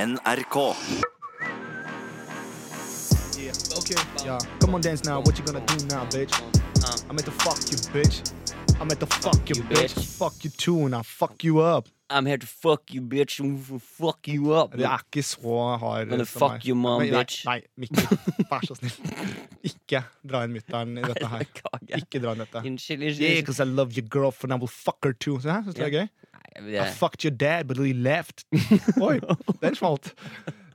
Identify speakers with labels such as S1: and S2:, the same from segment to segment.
S1: NRK.
S2: Yeah. Come on, dance now. What you gonna do now, bitch? I'm at the fuck you, bitch. I'm at the fuck you,
S3: you,
S2: bitch.
S3: bitch.
S2: Fuck you too, and I fuck you up.
S3: I'm here to fuck you, bitch. I'm gonna fuck you up.
S2: Det er ikke så hard
S3: Men det
S2: som
S3: fuck
S2: meg.
S3: you, mom,
S2: Men, nei,
S3: bitch.
S2: Nei, Mikkel, vær så snill. Ikke dra inn mutter'n i dette her.
S3: Beklager.
S2: Ikke dra inn dette.
S3: Unnskyld, unnskyld.
S2: Yeah, because I love your girlfriend, I will fuck her too. Se her, synes du det er gøy?
S3: Nei,
S2: I
S3: det-
S2: fucked your dad, but he left. Oi, den smalt.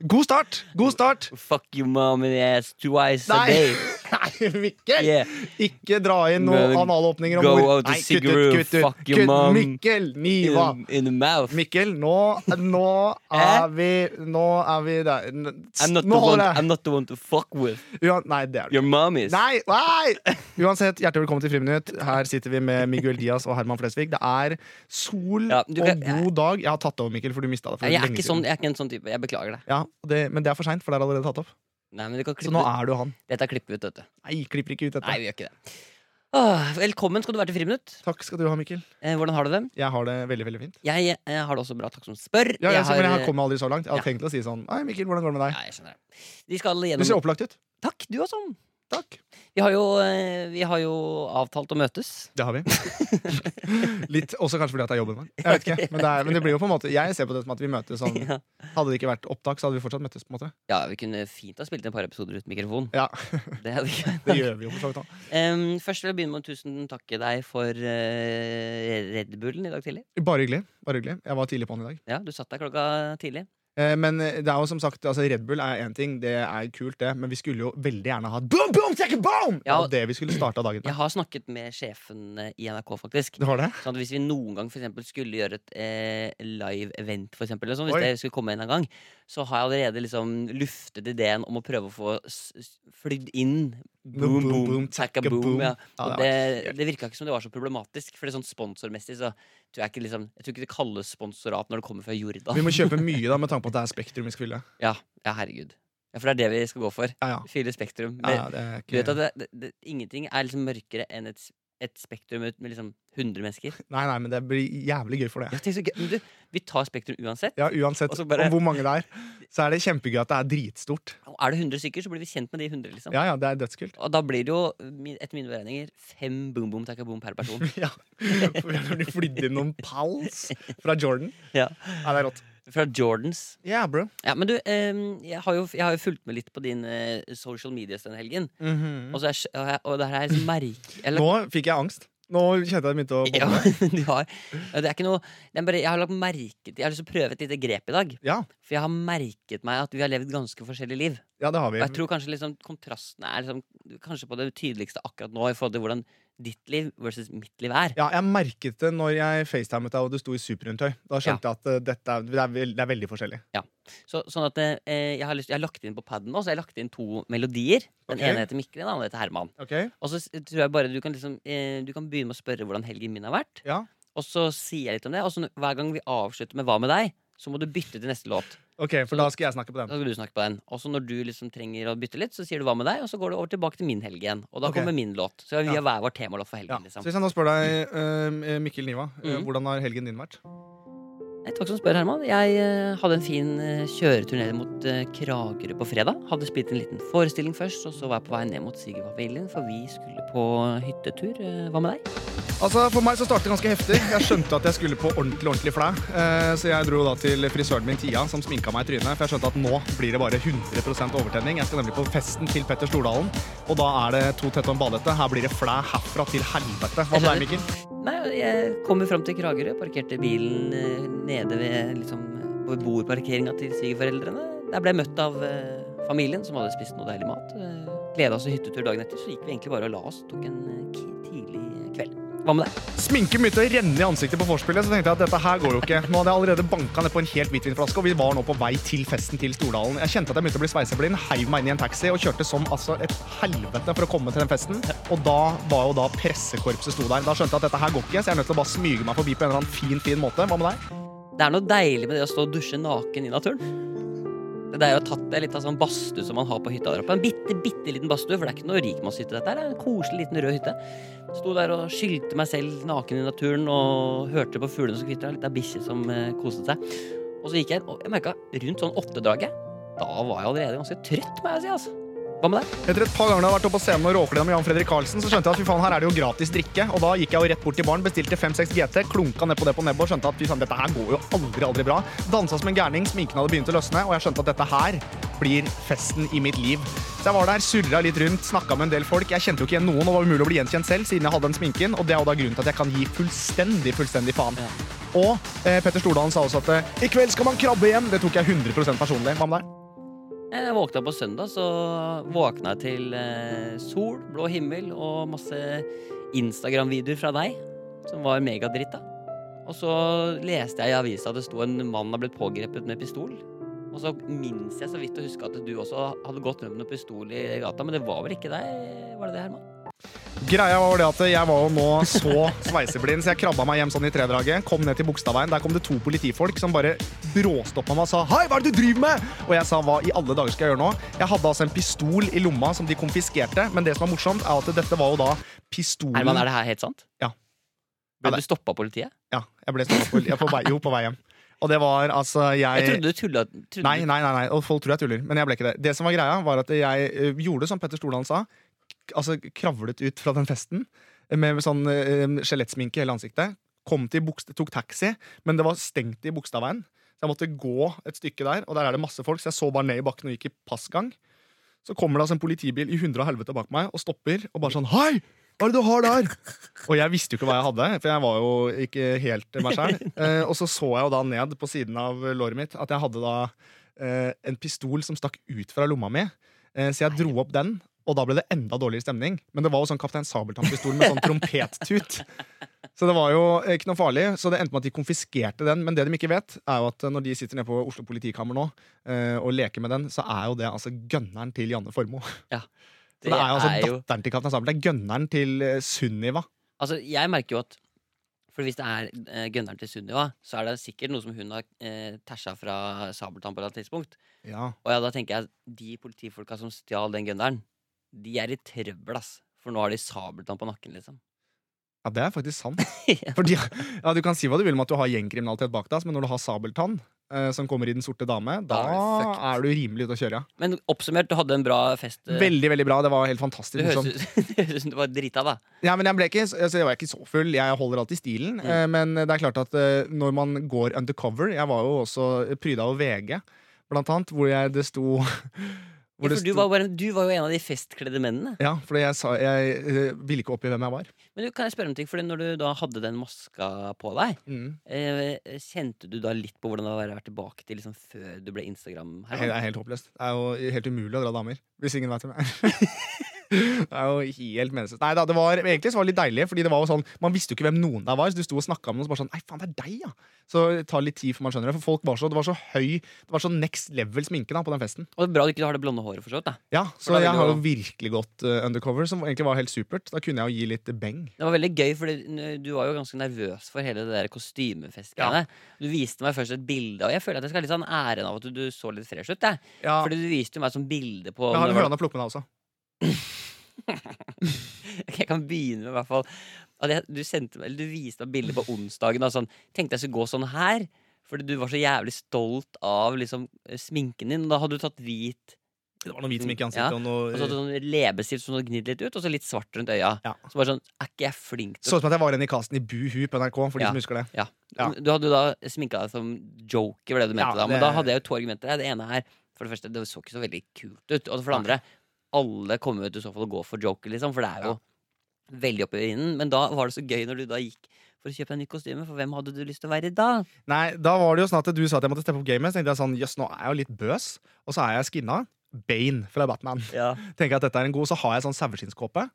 S2: God start! God start!
S3: Fuck you, mom and ass twice a
S2: Nei,
S3: day.
S2: Nei Mikkel!
S3: Yeah.
S2: Ikke dra inn noen
S3: Go-
S2: analåpninger om
S3: go
S2: ord.
S3: out to
S2: Nei, kutt ut,
S3: Sigurd,
S2: kutt ut!
S3: fuck your
S2: Kutt.
S3: mom.
S2: Mikkel
S3: In,
S2: Niva!
S3: in the mouth.
S2: Mikkel, nå, nå er vi Nå er vi der. N-
S3: I'm not, the
S2: Nå
S3: one,
S2: holder det!
S3: I'm not the one to fuck with.
S2: Uan- Nei, det er du.
S3: Your mom is.
S2: Nei, nei! Uansett, hjertelig velkommen til Friminutt. Her sitter vi med Miguel Diaz og Herman Flesvig. Det er sol
S3: Ja,
S2: og
S3: du kan-
S2: god dag. Jeg har tatt over, Mikkel, for du mista det for
S3: jeg, er
S2: lenge
S3: ikke
S2: siden.
S3: sånn, jeg er ikke en sånn type. Jeg beklager det.
S2: Ja, og det, men det er for seint, for det er allerede tatt opp.
S3: Nei, men du kan
S2: Så
S3: klippe
S2: nå
S3: ut.
S2: er du han.
S3: Dette er klippet ut, vet du.
S2: Nei, klipper ikke ut dette.
S3: Nei, vi gjør ikke det. Åh, velkommen skal du være til Friminutt.
S2: Takk skal du ha, Mikkel.
S3: Eh, hvordan har du det?
S2: Jeg har det veldig veldig fint.
S3: Jeg, eh, har det også bra, takk som spør.
S2: Ja, jeg, har, men jeg har
S3: eh,
S2: kommet aldri så langt. Jeg hadde
S3: ja.
S2: tenkt å si sånn Hei, Mikkel, hvordan går det med deg?
S3: Ja, jeg skjønner det. Vi
S2: Du
S3: skal
S2: ser
S3: gjennom
S2: opplagt ut.
S3: Takk, du også.
S2: Takk.
S3: Vi har jo, eh, vi har jo avtalt å møtes.
S2: Det har vi. Litt, Også kanskje fordi at det er jobben vår. Jeg vet ikke, men det, er, men det blir jo på en måte Jeg ser på det som at vi møtes sånn
S3: Ja.
S2: Hadde det ikke vært opptak, så hadde vi fortsatt møttes. på en måte
S3: Ja, vi kunne fint ha spilt inn et par episoder uten mikrofon.
S2: Ja,
S3: Det hadde ikke
S2: Det gjør vi jo for så vidt òg.
S3: Em, Først vil jeg begynne med å tusen takke deg for eh, Red Bullen i dag tidlig.
S2: Bare hyggelig. bare hyggelig Jeg var tidlig på'n i dag.
S3: Ja, du satt der klokka tidlig.
S2: Eh, Men det er jo som sagt altså Red Bull er én ting, det er kult, det. Men vi skulle jo veldig gjerne ha boom, boom, take a boom! Det
S3: Ja,
S2: var det vi skulle starta dagen med.
S3: Jeg har snakket med sjefen eh, i NRK, faktisk.
S2: Det var det?
S3: Sånn at Hvis vi noen gang for eksempel, skulle gjøre et eh, live event, for eksempel, eller sånn, hvis
S2: Oi.
S3: det skulle komme en eller annen gang, så har jeg allerede liksom luftet ideen om å prøve å få s s- flydd inn boom, boom, boom, takka boom. Ja.
S2: Ja,
S3: Og
S2: det
S3: det,
S2: var-
S3: det virka ikke som det var så problematisk, for det er sånn sponsormessig så tror jeg, ikke, liksom, jeg tror ikke det kalles sponsorat når det kommer fra Jordan.
S2: Vi må kjøpe mye da med tanke på at det er Spektrum vi skal fylle.
S3: Ja, ja, herregud. Ja, For det er det vi skal gå for.
S2: Ja, ja.
S3: Fylle Spektrum.
S2: ja,
S3: Men
S2: ja, det er
S3: du
S2: ikke...
S3: vet at det, det, det, ingenting er liksom mørkere enn et, s- et Spektrum ut med liksom 100 mennesker.
S2: Nei, nei, men det blir jævlig gøy for det.
S3: Ja, tenk så gøy. Men du, vi tar Spektrum uansett.
S2: Ja, Uansett
S3: Og så bare-
S2: om hvor mange det er, så er det kjempegøy at det er dritstort.
S3: Og er det 100 stykker, så blir vi kjent med de 100. liksom
S2: Ja, ja, det er dødskult.
S3: Og da blir det jo, mi- etter mine beregninger, fem boom boom takka boom per person.
S2: Ja. For vi har flydd inn noen pals fra Jordan.
S3: Ja.
S2: Ja, det er rått.
S3: Fra Jordans.
S2: Yeah, bro.
S3: Ja, Men du, em, jeg har jo, jeg har jo fulgt med litt på din eh, social medias denne helgen.
S2: Mm.
S3: Og, så er, s- og, jeg, og det her er liksom merk... Eller,
S2: Nå fikk jeg angst. Nå kjente jeg det begynte å
S3: ja,
S2: boble.
S3: men du har, det er ikke noe det er bare, Jeg har lagt merke til Jeg har lyst til å prøve et lite grep i dag.
S2: Ja.
S3: For jeg har merket meg at vi har levd ganske forskjellige liv.
S2: ja, det har
S3: Og
S2: vi.
S3: jeg tror kanskje liksom kontrastene er liksom, kanskje på det tydeligste akkurat nå i forhold til hvordan ditt liv versus mitt liv er.
S2: Ja, jeg merket det når jeg facetimet deg og du sto i superundertøy. Da skjønte jeg at eh, dette er, det, er vel- det er veldig forskjellig.
S3: Så, sånn at eh, jeg, har lyst, jeg har lagt inn på padden nå, så jeg har lagt inn to melodier. Den
S2: Ok.
S3: ene heter Mikkel, den andre heter Herman. Og så s- tror jeg bare du kan, liksom, eh, du kan begynne med å spørre hvordan helgen min har vært.
S2: Ja.
S3: Og så sier jeg litt om det. Og så n- hver gang vi avslutter med Hva med deg? Så må du bytte til neste låt.
S2: Ok, For da skal jeg snakke på
S3: Da
S2: den.
S3: skal du snakke på den. Og så når du liksom trenger å bytte litt, så sier du Hva med deg? Og så går du over tilbake til min helg igjen. Og da
S2: Ok.
S3: kommer min låt. Så vi
S2: Ja.
S3: har hver vår temalåt for
S2: Ja.
S3: helgen.
S2: Så
S3: Liksom.
S2: hvis jeg nå spør deg, eh, Mikkel Niva, eh,
S3: Mhm.
S2: hvordan har helgen din vært?
S3: Nei, takk som spør, Herman. Jeg eh, hadde en fin eh, kjøretur ned mot eh, Kragerø på fredag. Hadde spilt en liten forestilling først, og så var jeg på vei ned mot Sigerfamilien, for vi skulle på hyttetur. Eh, Hva med deg?
S2: Altså, For meg så startet det ganske heftig. Jeg skjønte at jeg skulle på ordentlig ordentlig flæ. Eh, så jeg dro da til frisøren min Tia, som sminka meg i trynet. For jeg skjønte at nå blir det bare 100 overtenning. Jeg skal nemlig på festen til Petter Stordalen. Og da er det to tett og en badehette. Her blir det flæ herfra til helvete. Hva med deg, Mikkel?
S3: Nei, jeg kommer fram til Kragerø, parkerte bilen eh, nede ved liksom, beboerparkeringa til svigerforeldrene. Der ble jeg møtt av eh, familien, som hadde spist noe deilig mat. Eh, Gleda oss til hyttetur dagen etter, så gikk vi egentlig bare og la oss. Tok en eh, ki- tidlig kveld. Hva med deg?
S2: Sminke begynte å renne i ansiktet på vorspielet, så tenkte jeg at dette her går jo ikke. Nå hadde jeg allerede banka ned på en helt hvitvinflaske, og vi var nå på vei til festen til Stordalen. Jeg kjente at jeg begynte å bli sveiseblind, heiv meg inn i en taxi og kjørte som altså et helvete for å komme til den festen. Og da var jo da pressekorpset sto der. Da skjønte jeg at dette her går ikke, så jeg er nødt til å bare smyge meg forbi på en eller annen fin, fin måte. Hva med deg?
S3: Det er noe deilig med det å stå og dusje naken i naturen. Det der å ha tatt deg litt av sånn badstue som man har på hytta der oppe. En bitte, bitte liten badstue, for det er ikke noe rikmannshytte dette her. Det er en koselig liten rød hytte. Sto der og skyldte meg selv naken i naturen og hørte på fuglene som kvitra. Litt av bikkje som eh, koset seg. Og så gikk jeg inn, og jeg merka rundt sånn åttedraget Da var jeg allerede ganske trøtt, må jeg si. altså Hva med deg?
S2: Etter et par ganger jeg har vært oppe på scenen og råklina med Jan Fredrik Karlsen, så skjønte jeg at fy faen, her er det jo gratis drikke. Og da gikk jeg jo rett bort til baren, bestilte 5-6 GT, klunka ned på det på nebbet og skjønte at fy faen, dette her går jo aldri, aldri bra. Dansa som en gærning, sminken hadde begynt å løsne, og jeg skjønte at dette her blir festen i mitt liv. Så jeg var der, surra litt rundt, snakka med en del folk. Jeg kjente jo ikke igjen noen, og det var umulig å bli gjenkjent selv siden jeg hadde den sminken, og det er jo da grunnen til at jeg kan gi fullstendig, fullstendig faen.
S3: Ja.
S2: Og eh, Petter Stordalen sa også at eh, i kveld skal man krabbe igjen. Det tok jeg 100 personlig. Hva med deg?
S3: Eh, Jeg våkna på søndag, så våkna jeg til eh, sol, blå himmel og masse Instagram-videoer fra deg, som var megadritt, da. Og så leste jeg i avisa at det sto en mann har blitt pågrepet med pistol. Og så minnes jeg så vidt å huske at du også hadde gått rundt med pistol i gata, men det var vel ikke deg? Var det
S2: Mm.
S3: det, Herman?
S2: Greia var det at jeg var jo nå så sveiseblind, så jeg krabba meg hjem sånn i tredraget. Kom ned til Bogstadveien. Der kom det to politifolk som bare bråstoppa meg og sa 'Hei, hva er det du driver med?' Og jeg sa 'Hva i alle dager skal jeg gjøre nå?' Jeg hadde altså en pistol i lomma som de konfiskerte, men det som er morsomt, er at dette var jo da pistolen
S3: Herman, er det her helt sant?
S2: Ja. Ja,
S3: Ble
S2: det-
S3: du stoppa av politiet?
S2: Ja, jeg ble stoppet på, jeg er på vei, jo, på vei hjem. Og det var altså
S3: Jeg trodde du tulla. Trodde
S2: Nei, nei, nei, nei, og folk tror jeg tuller, men jeg ble ikke det. Det som var greia, var at jeg eh, gjorde som Petter Stordalen sa, k- altså kravlet ut fra den festen eh, med sånn eh, skjelettsminke i hele ansiktet. Kom til Bogst- tok taxi, men det var stengt i Bogstadveien. Så jeg måtte gå et stykke der, og der er det masse folk, så jeg så bare ned i bakken og gikk i passgang. Så kommer det altså en politibil i hundre og helvete bak meg og stopper og bare sånn Hei! Hva er det du har der? Og jeg visste jo ikke hva jeg hadde, for jeg var jo ikke helt meg sjæl. Eh, og så så jeg jo da ned på siden av låret mitt at jeg hadde da eh, en pistol som stakk ut fra lomma mi. Eh, så jeg dro opp den, og da ble det enda dårligere stemning. Men det var jo sånn Kaptein Sabeltann-pistol med sånn trompettut. Så det var jo eh, ikke noe farlig. Så det endte med at de konfiskerte den. Men det de ikke vet, er jo at eh, når de sitter nede på Oslo politikammer nå eh, og leker med den, så er jo det altså gønneren til Janne Formoe. Så det er jo altså datteren til Kaptein Sabeltann. Det er gønneren til eh, Sunniva.
S3: Altså, jeg merker jo at For hvis det er eh, gønneren til Sunniva, så er det sikkert noe som hun har eh, tæsja fra Sabeltann på et eller annet tidspunkt.
S2: Ja.
S3: Og ja, da tenker jeg at de politifolka som stjal den gønneren, de er i trøbbel, ass. For nå har de Sabeltann på nakken, liksom.
S2: Ja, det er faktisk sant.
S3: Ja.
S2: Fordi, ja, du kan si hva du vil om at du har gjengkriminalitet bak deg, men når du har Sabeltann, eh, som kommer i Den sorte dame, da
S3: Da er det fucked.
S2: er du rimelig ute å kjøre. ja.
S3: Men oppsummert, du hadde en bra fest. eh,
S2: Veldig, veldig bra. Det var helt fantastisk.
S3: det høres
S2: morsomt.
S3: ut det høres ut som du var drita, da.
S2: Ja, men jeg, ble ikke, altså, jeg var ikke så full. Jeg holder alltid stilen.
S3: Mm.
S2: eh, Men det er klart at eh, når man går undercover Jeg var jo også pryda av VG, blant annet, hvor jeg, det sto hvor det
S3: Ja, for du
S2: sto-
S3: var, bare, du var jo en av de festkledde mennene.
S2: Ja, for jeg, sa, jeg eh, ville ikke oppgi hvem jeg var.
S3: Men du, kan jeg spørre om ting? Fordi når du da hadde den maska på deg,
S2: Mm.
S3: eh, kjente du da litt på hvordan det var å være tilbake til liksom, før du ble Instagram?
S2: Det er helt håpløst. Det er jo helt umulig å dra damer. Hvis ingen vet hvem jeg er. Det er jo helt meningsløst. Nei da, det var egentlig så var det litt deilig, fordi det var jo sånn Man visste jo ikke hvem noen der var, så du sto og snakka med noen, og så bare sånn Nei, faen, det er deg, ja! Så det tar litt tid før man skjønner det, for folk var så Det var så høy Det var så next level sminke da på den festen.
S3: Og det er bra du ikke har det blonde håret, for så vidt. da
S2: Ja,
S3: da
S2: så
S3: vil
S2: jeg
S3: du
S2: har
S3: jo-
S2: jo virkelig gått eh, undercover, som egentlig var helt supert. Da kunne jeg jo gi litt beng.
S3: Det var veldig gøy, for du var jo ganske nervøs for hele det der kostymefestgreiene. Du viste meg først et bilde, og jeg føler at jeg skal ha litt sånn æren av at du, du så litt fresh ut. Jeg.
S2: Ja,
S3: Fordi du viste jo meg som bilde på
S2: jeg har
S3: når
S2: en
S3: det var-
S2: høne å plukke med deg også.
S3: Ok, Jeg kan begynne med i hvert fall at jeg, du, sendte, meg- eller du viste meg bilde på onsdagen av sånn Tenkte jeg skulle gå sånn her, fordi du var så jævlig stolt av liksom sminken din. Og da hadde du tatt hvit,
S2: Det var noe hvit sminke i
S3: Ja,
S2: ansiktet og noe
S3: og så hadde du sånn leppestift som du hadde gnidd litt ut, og så litt svart rundt øya.
S2: Ja.
S3: Så bare sånn, er ikke jeg flink til å
S2: Så ut som at jeg var en i casten i Buhu på NRK, for de
S3: Ja.
S2: som husker det. Ja.
S3: Du hadde jo da sminka deg som joker, var det du mente
S2: Ja,
S3: da. Men
S2: det-
S3: da hadde jeg jo to argumenter. her. Det ene er, for det første, det så ikke så veldig kult ut. Og for det andre, alle kommer jo til i så fall å gå for joker, liksom. For det er jo veldig oppi urinen. Men da var det så gøy når du da gikk for å kjøpe en ny kostyme, for hvem hadde du lyst til å være da?
S2: Nei, da var det jo sånn at du sa at jeg måtte steppe opp gamet. Så tenkte jeg sånn, jøss, nå er jeg jo litt bøs. Og så er jeg skinna. Bane fra Batman.
S3: Ja.
S2: Tenker jeg at dette er en god, Så har jeg sånn saueskinnskåpe.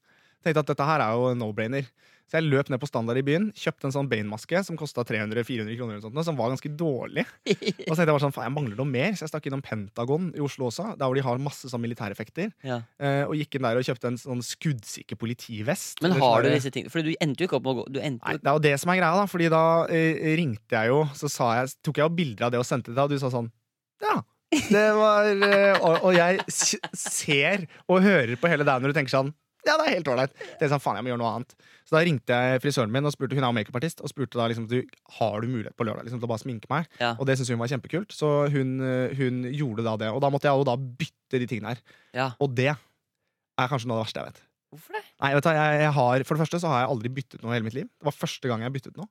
S2: Tenkte at dette her er jo en no-brainer. Så jeg løp ned på Standard i byen, kjøpte en sånn Bane-maske som kosta 300-400 kroner, eller noe sånt, som var ganske dårlig. Og så tenkte jeg bare sånn, faen, jeg mangler noe mer, så jeg stakk innom Pentagon i Oslo også, der hvor de har masse sånn militæreffekter,
S3: ja.
S2: eh, og gikk inn der og kjøpte en sånn skuddsikker politivest.
S3: Men
S2: Eller sånn
S3: har du
S2: der-
S3: disse tingene? For du endte jo ikke opp med å gå du endte,
S2: Nei,
S3: jo-
S2: det er jo det som er greia, da. Fordi da eh, ringte jeg jo, så sa jeg, tok jeg jo bilder av det og sendte det, og du sa sånn Ja. Det var eh, og, og jeg s- ser og hører på hele deg når du tenker sånn Ja, det er helt ålreit. Det er sånn, faen, jeg må gjøre noe annet. Så da ringte jeg frisøren min, og spurte hun er jo makeupartist, og spurte da liksom, du, har du mulighet på lørdag liksom, til å bare sminke meg.
S3: Ja.
S2: Og det syntes hun var kjempekult, så hun, eh, hun gjorde da det. Og da måtte jeg jo da bytte de tingene her.
S3: Ja.
S2: Og det er kanskje noe av det verste jeg vet.
S3: Hvorfor det?
S2: Nei, vet du, hva, jeg, jeg har, For det første så har jeg aldri byttet noe i hele mitt liv. Det var første gang jeg byttet noe.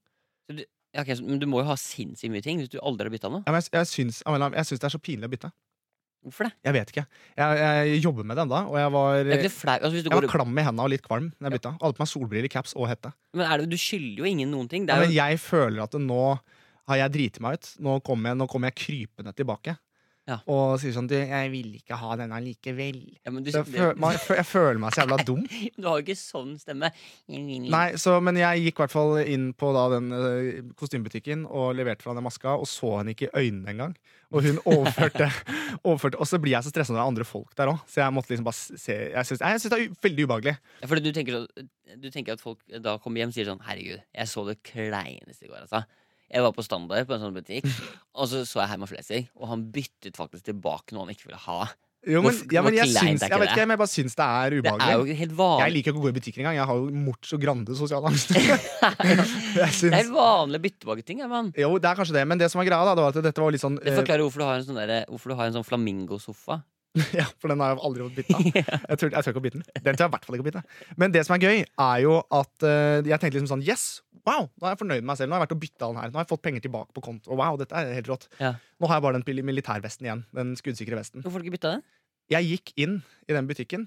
S3: Ja, ok, så- men du må jo ha sinnssykt mye ting hvis du aldri har bytta noe.
S2: Ja, men Jeg, jeg, syns, av en eller annen- jeg syns det er så pinlig å bytte.
S3: Hvorfor det?
S2: Jeg vet ikke. Jeg, jeg jobber med det ennå, og jeg var,
S3: Det er ikke det flau. Altså, hvis du
S2: jeg
S3: går,
S2: var klam i hendene og litt kvalm da jeg bytta. Alle på meg solbriller, caps og hette.
S3: men er det, du skylder jo ingen noen ting. Det
S2: Ja,
S3: er
S2: men
S3: jo,
S2: jeg føler at det nå har jeg driti meg ut. Nå kommer jeg, nå kommer jeg krypende tilbake.
S3: Ja.
S2: Og sier sånn du, 'Jeg vil ikke ha denne likevel'.
S3: ja, men du,
S2: Så jeg, føl, man, jeg føl- jeg føler meg så jævla dum.
S3: du har jo ikke sånn stemme. Nei.
S2: Nei, så, Men jeg gikk i hvert fall inn på da den eh, kostymebutikken og leverte fra den maska, og så henne ikke i øynene engang. Og hun overførte, overførte Og så blir jeg så stressa når det er andre folk der òg. Så jeg måtte liksom bare s- se Jeg syns jeg syns det er u- veldig ubehagelig.
S3: Fordi du tenker, så- du tenker at folk da kommer hjem og sier sånn Herregud, jeg så det kleineste i går, altså. Jeg var på standard på en sånn butikk, og så så jeg Herman Flesvig, og han byttet faktisk tilbake noe han ikke ville ha.
S2: Jo, men,
S3: Hvor-
S2: ja, men
S3: hvor
S2: jeg,
S3: kleint er
S2: syns,
S3: ikke
S2: jeg vet
S3: det?
S2: ikke, men jeg bare syns det er
S3: Det er
S2: ubehagelig.
S3: jo helt
S2: Jeg
S3: vanlig.
S2: liker ikke å gå i butikker engang. Jeg har jo Morts og Grande sosial angst. jeg
S3: Det er
S2: syns
S3: helt vanlig å bytte tilbake ting, ja, mann.
S2: jo, det er kanskje det, men det som er greia, da, det var at dette var litt sånn
S3: Det
S2: eh,
S3: forklarer hvorfor du har en sånn, derre- hvorfor du har en sånn flamingosofa.
S2: Ja, for den har jeg aldri fått bitt av. Jeg tør, jeg tør ikke å bite den. Den tør jeg i hvert fall ikke å bite. Men det som er gøy, er jo at eh, jeg tenkte liksom sånn Yes! Wow! Nå er jeg fornøyd med meg selv. Nå har jeg vært og bytta den her. Nå har jeg fått penger tilbake på konto. Og Wow, dette er helt rått.
S3: Ja.
S2: Nå har jeg bare den pil- militærvesten igjen. Den skuddsikre vesten.
S3: Hvorfor har du ikke bytta den?
S2: Jeg gikk inn i den butikken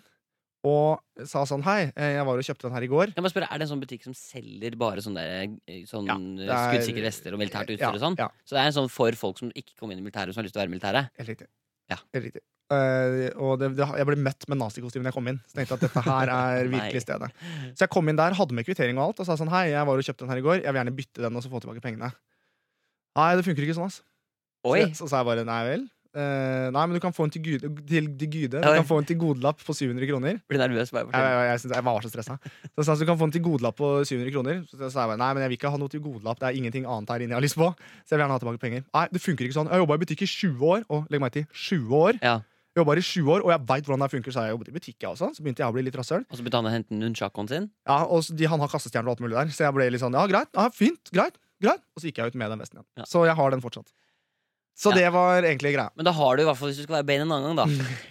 S2: og sa sånn Hei, eh, jeg var og kjøpte den her i går.
S3: Kan jeg bare spørre, Er det en sånn butikk som selger bare sånne, der, eh, sånn
S2: Ja,
S3: eh,
S2: det er-
S3: skuddsikre vester og militært utstyr?
S2: Ja,
S3: og sånn?
S2: ja,
S3: Så det er en sånn for folk som ikke kom inn i militæret, som har lyst til å være i militæret?
S2: helt riktig.
S3: Ja.
S2: Helt riktig. Eh, og det, det, jeg ble møtt med nazikostyme da jeg kom inn. Så tenkte jeg at dette her er
S3: Nei.
S2: virkelig stedet. Så jeg kom inn der, hadde med kvittering og alt, og sa sånn Hei, jeg var og kjøpte den her i går, jeg vil gjerne bytte den og så få tilbake pengene. Nei, det funker ikke sånn, ass.
S3: Oi!
S2: Så, så sa jeg bare nei vel. Eh, nei, men du kan få en til Gyde. Til, til Gyde. Du
S3: Oi.
S2: kan få en til godelapp på 700 kroner.
S3: Blir nervøs bare
S2: Jeg,
S3: fortell.
S2: jeg, jeg, synes- jeg var så stressa. Så sa jeg, så du kan få en til godelapp på 700 kroner. Så sa jeg bare nei, men jeg vil ikke ha noe til godelapp. Det er ingenting annet her inne jeg har lyst på. Så jeg vil gjerne ha tilbake penger. Nei, det funker ikke sånn. Jeg jobba i butikk i 20 år. Og legg meg til 20 år.
S3: Ja.
S2: Jobba her i 20 år, og jeg veit hvordan det funker, så jeg jobbet i butikk, jeg også. Så begynte jeg å bli litt rasshøl.
S3: Og så begynte han å hente nunchakoen sin.
S2: Ja, og så de, Han har kastestjerner og alt mulig der, så jeg ble litt sånn ja, greit, ja, fint, greit, greit. Og så gikk jeg ut med den vesten igjen.
S3: Ja.
S2: Så jeg har den fortsatt. Så
S3: Ja.
S2: det var egentlig greia.
S3: Men da har du i hvert fall, hvis du skal være Bane en annen gang,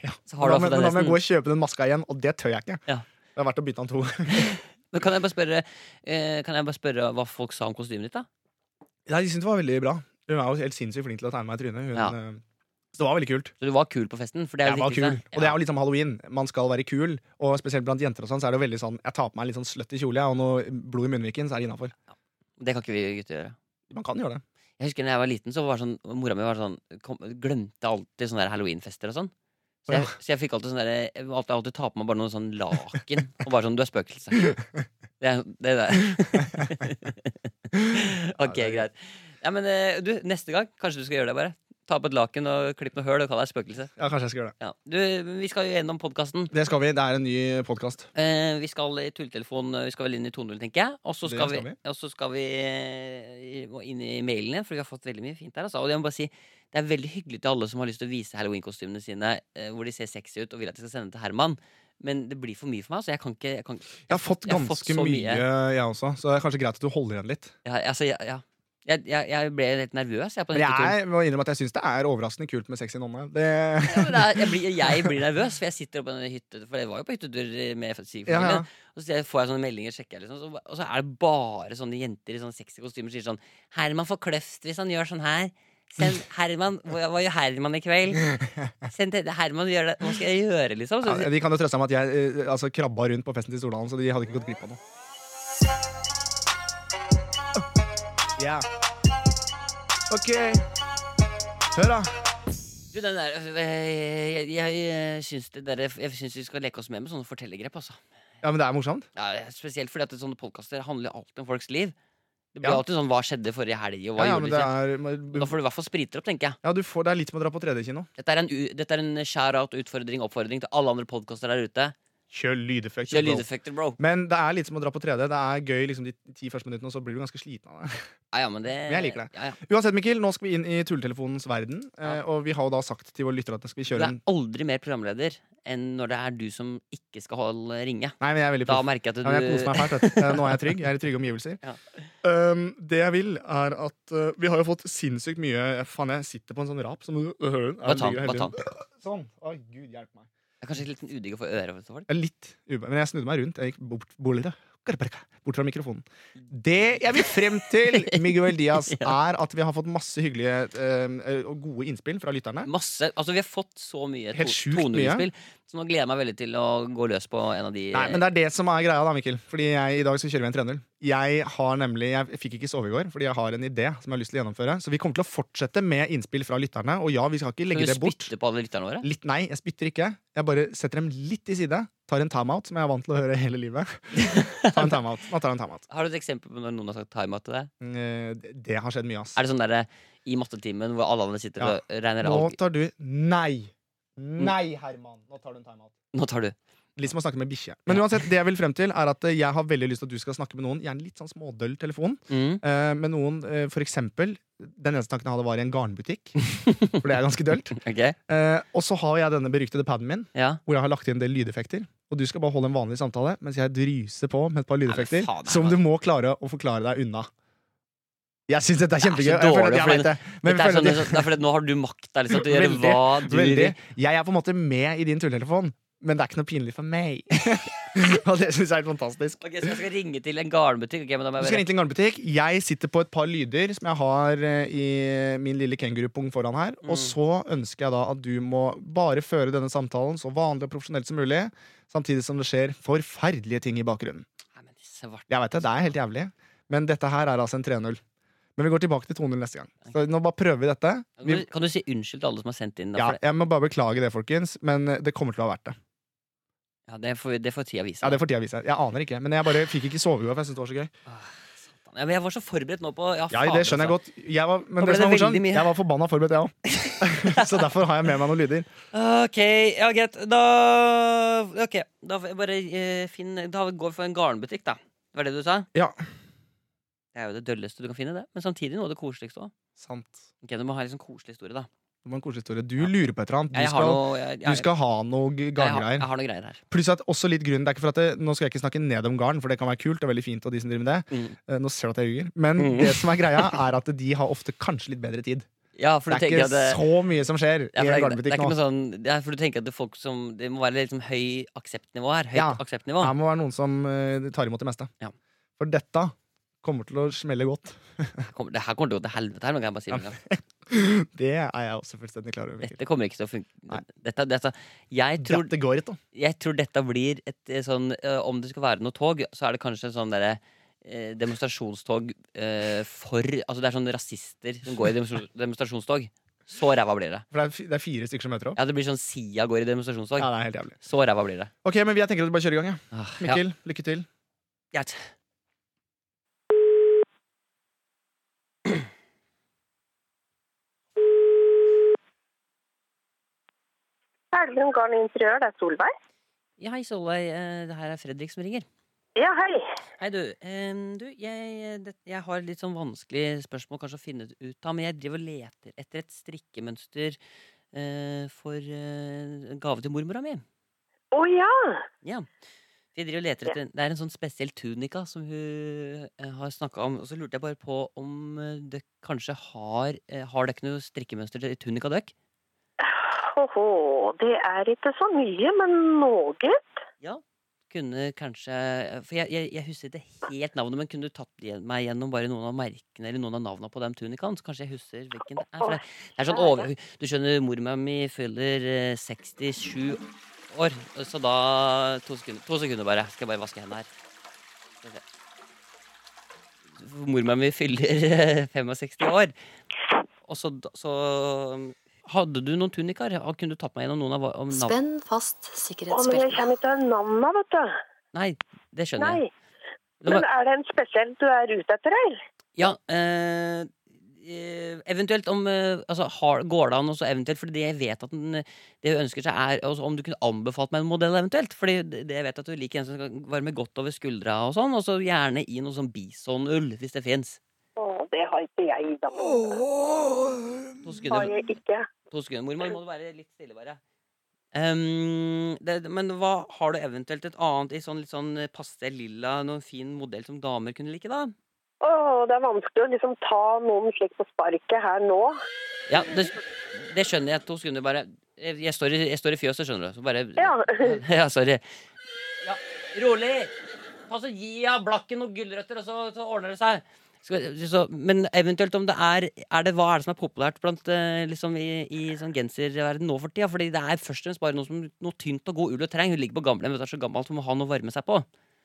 S3: da. Så har du i
S2: Mm, Men
S3: hvert fall
S2: men da må jeg
S3: den
S2: gå
S3: resten.
S2: og kjøpe den maska igjen, og det tør jeg ikke.
S3: Ja.
S2: Det er verdt å bytte den to. ganger.
S3: Men kan jeg bare spørre, eh, kan jeg bare spørre hva folk sa om kostymet ditt, da?
S2: Nei, de syntes det var veldig bra. Hun er jo helt sinnssykt flink til å tegne meg i trynet. Hun,
S3: Ja.
S2: eh, Så det var veldig kult.
S3: Så du var kul på festen? For det er jo
S2: Jeg
S3: det
S2: var kul.
S3: viktigste.
S2: Og det er jo litt som halloween. Man skal være kul. Og spesielt blant jenter og sånn, så er det jo veldig sånn Jeg tar på meg en litt sånn slutty kjole jeg, og noe blod i munnviken, så er det innafor.
S3: Ja, det kan ikke vi gutter gjøre.
S2: Man kan gjøre det.
S3: Jeg husker da jeg var liten, så var sånn, mora mi var sånn, kom, glemte alltid sånne der halloweenfester og sånn. Så jeg, så jeg fikk alltid sånn der, jeg valgte alltid å ta på meg bare noe sånn laken. Og bare sånn 'du er spøkelse'. Det er det. Er det. ok,
S2: Ja, det er-
S3: greit. Ja, men eh, du, neste gang, kanskje du skal gjøre det, bare. Ta på et laken og klipp noe høl og kall deg spøkelse.
S2: Ja, kanskje jeg skal gjøre det.
S3: Ja. Du, vi skal jo gjennom podkasten.
S2: Det skal vi. Det er en ny podkast.
S3: Eh, vi skal i tulletelefon, eh, vi skal vel inn i 2.0, tenker jeg. Og så
S2: Det
S3: skal,
S2: skal
S3: vi,
S2: vi.
S3: og så skal vi eh, i- inn i mailene, for vi har fått veldig mye fint der. Altså. Og jeg må bare si, det er veldig hyggelig til alle som har lyst til å vise halloweenkostymene sine, eh, hvor de ser sexy ut, og vil at jeg skal sende det til Herman. Men det blir for mye for meg. Altså. Jeg kan ikke jeg kan,
S2: Jeg har fått
S3: Jeg har
S2: ganske
S3: fått så
S2: mye,
S3: mye.
S2: jeg også, så det er kanskje greit at du holder igjen litt.
S3: jeg, altså, jeg, ja. jeg, jeg, jeg ble helt nervøs, jeg, på
S2: Men
S3: den
S2: jeg
S3: hytteturen.
S2: er- må innrømme at jeg syns det er overraskende kult med sexy nonne. Det,
S3: Ja, men det er- jeg, blir, jeg blir nervøs, for jeg sitter oppe på den hytte For jeg var jo på hyttetur med
S2: ja, ja.
S3: Sigfrid. Og så får jeg sånne meldinger, sjekker jeg liksom, så, og så er det bare sånne jenter i sånne sexy kostymer som sier sånn Herman får kløft hvis han gjør sånn her. Send Herman, Hva hva gjør Herman i kveld? Send til Herman, gjør det. Hva skal jeg gjøre, liksom? Så,
S2: Ja, de kan jo trøste seg med at jeg eh, altså, krabba rundt på festen til Stordalen, så de hadde ikke gått glipp av noe. Yeah. Ok. Hør, da.
S3: du, den der, øh, jeg jeg, jeg syns det der- jeg syns vi skal leke oss med med sånne fortellergrep, altså.
S2: Ja, men det er morsomt.
S3: Ja, spesielt fordi at sånne podkaster handler alltid om folks liv. Det blir
S2: Ja.
S3: alltid sånn 'hva skjedde forrige helg', og
S2: Ja,
S3: hva
S2: ja,
S3: gjorde
S2: men
S3: du?
S2: det
S3: til-
S2: er,
S3: Da får du i hvert fall sprite opp, tenker jeg.
S2: ja, du får, det er litt som å dra på 3D-kino.
S3: Dette er en, u- dette er en shout-out, utfordring, oppfordring til alle andre podkaster der ute.
S2: Kjør lydeffekt.
S3: Kjør
S2: bro.
S3: lydeffekter, bro.
S2: Men det er litt som å dra på 3D. Det er gøy liksom, de ti første minuttene, og så blir du ganske sliten av det.
S3: Ja, ja, men det
S2: Men jeg liker det.
S3: Ja, ja.
S2: Uansett, Mikkel, nå skal vi inn i tulletelefonens verden.
S3: Ja.
S2: eh, Og vi har jo da sagt til våre lyttere at skal vi
S3: Du
S2: kjøre
S3: er
S2: en
S3: aldri mer programleder enn når det er du som ikke skal holde ringe.
S2: Nei, men jeg er veldig
S3: Da
S2: proff.
S3: merker jeg
S2: Ja, men jeg koser
S3: at
S2: meg fælt. vet du. Eh, Nå er jeg trygg. Jeg er i trygge omgivelser.
S3: Ja.
S2: Um, det jeg vil, er at uh, Vi har jo fått sinnssykt mye Faen, jeg sitter på en sånn rap som du hører den.
S3: du Bare ta
S2: Jeg
S3: den.
S2: ligger
S3: bare ta
S2: hele
S3: den.
S2: tiden. Sånn. Å, gud hjelpe meg.
S3: Det er kanskje litt sånn udigg å få øre for folk.
S2: Jeg er litt ube... Men jeg snudde meg rundt. Jeg gikk bort, bort, bort fra mikrofonen. Det jeg vil frem til, Miguel Diaz, er at vi har fått masse hyggelige eh, og gode innspill fra lytterne.
S3: Masse, altså Vi har fått så mye
S2: Helt sjukt mye.
S3: toneinnspill, så nå gleder jeg meg veldig til å gå løs på en av de eh,
S2: Nei, men det er det som er greia, da, Mikkel. Fordi jeg i dag skal kjøre med en 3-0. Jeg har nemlig, jeg fikk ikke sove i går, fordi jeg har en idé som jeg har lyst til å gjennomføre. Så vi kommer til å fortsette med innspill fra lytterne. Og ja, vi skal ikke
S3: Skal
S2: legge
S3: du
S2: det bort.
S3: spytte på alle lytterne våre?
S2: Litt, nei, jeg spytter ikke. Jeg bare setter dem litt til side. Tar en timeout, som jeg er vant til å høre hele livet. Ta en timeout. Nå tar jeg en timeout.
S3: Har du et eksempel på når noen har sagt timeout til deg?
S2: Mm, eh, det- Det har skjedd mye, ass.
S3: Er det sånn derre i mattetimen hvor alle andre sitter
S2: Ja.
S3: og regner
S2: Nå
S3: alt
S2: tar du Nei!
S3: Mm.
S2: Nei, Herman. Nå tar du en timeout.
S3: Nå tar du.
S2: Litt som å snakke med bikkje. Men uansett, det jeg vil frem til, er at eh, jeg har veldig lyst til at du skal snakke med noen. Gjerne litt sånn smådøll telefon.
S3: Mm.
S2: Eh, med noen, eh, for eksempel Den eneste tanken jeg hadde, var i en garnbutikk. For det er ganske dølt.
S3: Ok,
S2: Eh, og så har jeg denne beryktede paden min,
S3: ja
S2: hvor jeg har lagt inn en del lydeffekter. Og du skal bare holde en vanlig samtale mens jeg dryser på med et par lydeffekter
S3: faen, Herman.
S2: som du må klare å forklare deg unna. Jeg syns dette er
S3: Det er så
S2: kjempegøy. og Jeg føler at
S3: dårlig,
S2: jeg vet det. Men
S3: det er,
S2: jeg
S3: sånn, det
S2: føler at
S3: er sånn- det er fordi at nå har du makta liksom, til å gjøre
S2: Veldig,
S3: hva du
S2: jeg- veldig Jeg er på en måte med i din tulletelefon, men det er ikke noe pinlig for meg. og det syns jeg er helt fantastisk.
S3: Ok, Så jeg skal ringe til en garnbutikk? Ok, men da
S2: Du skal
S3: må jeg bare...
S2: ringe til en garnbutikk. Jeg sitter på et par lyder som jeg har eh, i min lille kengurupung foran her. Og så ønsker jeg da at du må bare føre denne samtalen så vanlig og profesjonelt som mulig, samtidig som det skjer forferdelige ting i bakgrunnen.
S3: Nei, men svart.
S2: Jeg vet det, det er helt jævlig, men dette her er altså en 3-0. Men vi går tilbake til 2-0 neste gang. Så nå bare prøver vi dette.
S3: Kan
S2: Vi,
S3: du, kan du si unnskyld til alle som har sendt inn? Da,
S2: ja,
S3: for det,
S2: jeg må bare beklage det, folkens, men det kommer til å ha vært det.
S3: ja, det, får, det får tida vise.
S2: Ja,
S3: da.
S2: Det får tida vise. Jeg aner ikke, men jeg bare fikk ikke sove i går, for jeg syntes det var så gøy.
S3: Ja, men jeg var så forberedt nå på altså.
S2: Ja, det skjønner jeg godt. Jeg var, men
S3: Da ble
S2: det som er
S3: det veldig
S2: morsomt,
S3: mye.
S2: jeg var forbanna forberedt, jeg òg. Så derfor har jeg med meg noen lyder.
S3: Ok, ja, greit. Da Ok, da får jeg bare eh, finn Da går vi for en garnbutikk, da. Det var det du sa?
S2: Ja.
S3: Det er jo det dølleste du kan finne, det. Men samtidig noe av det koseligste òg.
S2: Sant.
S3: Ok, du må ha en sånn koselig historie, da.
S2: Det var en koselig historie. Du lurer på et eller annet.
S3: Jeg,
S2: Du
S3: jeg har
S2: skal,
S3: noe jeg, jeg,
S2: du skal ha noe
S3: jeg, har- jeg
S2: garngreier.
S3: har noe greier her.
S2: Pluss at også litt grunn, det er ikke for at det, Nå skal jeg ikke snakke ned om garn, for det kan være kult og veldig fint. og de som driver med det
S3: Mm.
S2: Eh, Nå ser du at jeg ljuger. Men
S3: Mm.
S2: det som er greia, er at de har ofte kanskje litt bedre tid.
S3: Ja, for
S2: Det
S3: du
S2: er
S3: tenker
S2: ikke
S3: at det,
S2: så mye som skjer i en
S3: ja, for det, er- det er
S2: garnbutikk
S3: ikke
S2: nå.
S3: noe sånn Det er for du tenker at det, er folk som, det må være liksom høy akseptnivå her. Høyt
S2: Ja.
S3: akseptnivå.
S2: Her må være noen som eh, tar imot det meste.
S3: sånn- Ja.
S2: For dette kommer til å smelle godt.
S3: Her kommer- Det her kommer til å gå til helvete. her nå kan jeg bare si
S2: Ja.
S3: det med en gang.
S2: Det er jeg også fullstendig klar over. Mikkel.
S3: Dette kommer ikke til å
S2: Nei.
S3: funke. Dette, dette, jeg, tror,
S2: Dette går ikke, da.
S3: jeg tror dette blir et eh, sånn eh, Om det skal være noe tog, så er det kanskje en sånn derre eh, demonstrasjonstog eh, for Altså det er sånn rasister som går i demonstra- demonstrasjonstog. Så ræva blir det.
S2: For det er, fi- det er fire stykker som møter opp.
S3: Ja, det blir sånn Sia går i
S2: Ja,
S3: demonstrasjonstog.
S2: det er helt jævlig
S3: Så ræva blir det.
S2: Ok, men Jeg tenker at du bare kjører i gang. jeg.
S3: Ah, ja.
S2: Mikkel, lykke til.
S3: Greit.
S1: Herlum Garn Interiør, det er Solveig.
S3: Ja, hei, Solveig. eh, Det her er Fredrik som ringer.
S1: Ja, hei.
S3: Hei, du. Em, du, jeg, det, jeg har litt sånn vanskelig spørsmål kanskje å finne ut av, men jeg driver og leter etter et strikkemønster eh, for eh, en gave til mormora mi.
S1: Å ja.
S3: Vi driver og leter etter, Det er en sånn spesiell tunika som hun eh, har snakka om. Og så lurte jeg bare på om eh, dere kanskje har eh, Har dere noe strikkemønster til tunika dere?
S1: Åhå, det er ikke så mye, men noe.
S3: Kunne kanskje For jeg, jeg, jeg husker ikke helt navnet, men kunne du tatt igjen- meg gjennom bare noen av merkene eller noen av navnene på den tunikaen? Så kanskje jeg husker hvilken det er? For det, det er sånn over, du skjønner, mora mi fyller eh, 67 år, så da To sekunder, to sekunder bare. Skal jeg bare vaske hendene her. Skal vi se. Mora mi fyller eh, 65 år, og så, da- så Hadde du noen tunikaer? Ja, Kunne du tatt meg gjennom noen av hva- om navn?
S4: Spenn
S1: Å,
S4: fast
S1: men jeg
S4: sikkerhetsbeltet.
S1: kommer ikke av navnene, vet du.
S3: Nei, det skjønner jeg.
S1: Nei.
S3: Det var-
S1: Men er det en spesiell du er ute etter, eller?
S3: Ja, eh, eh, eventuelt om eh, altså, har, Går det an også eventuelt Fordi det jeg vet at den, eh, det hun ønsker seg, er altså, om du kunne anbefalt meg en modell eventuelt. Fordi det det jeg vet at du liker en som skal varme godt over skuldra og sånn. Og så gjerne i noe sånn bisonull, hvis det fins.
S1: Å, det har ikke jeg, da.
S3: To
S1: Har
S3: sekunder,
S1: jeg ikke.
S3: to sekunder mormor. Må du være litt stille, bare. Ehm, det, men hva har du eventuelt et annet i sånn litt sånn pastell lilla, noen fin modell som damer kunne like, da?
S1: Å, det er vanskelig å liksom ta noen slik på sparket her nå.
S3: Ja, det, det skjønner jeg. To sekunder, bare. Jeg, jeg, står, i, jeg står i fjøset, skjønner du. Så bare
S1: Ja.
S3: ja, sorry. Ja, rolig! Ta så Gi av blakken noen gulrøtter, og så, så ordner det seg. Skal, så, men eventuelt om det er, er det, Hva er det som er populært blant, eh, liksom i, i sånn genserverden nå for tida? Fordi det er først og fremst bare noe, som, noe tynt og god ull og treng. Hun ligger på gamlehjem, hun er så gammel at hun må ha noe å varme seg på.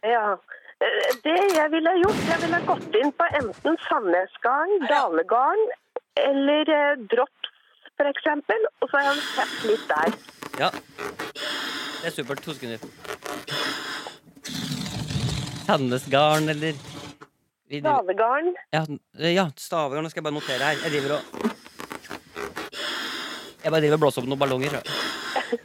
S1: ja. Eh, Det jeg ville gjort, jeg ville gått inn på enten Sandnesgarn, Dalegarn eller eh, Drops, for eksempel. Og så har jeg sett litt der.
S3: Ja. Det er supert. To sekunder. Sandnesgarn eller Vi driver-
S1: Dalegarn.
S3: Ja, den- ja staver. Nå skal jeg bare notere her. Jeg driver og Jeg bare driver og blåser opp noen ballonger. tror jeg.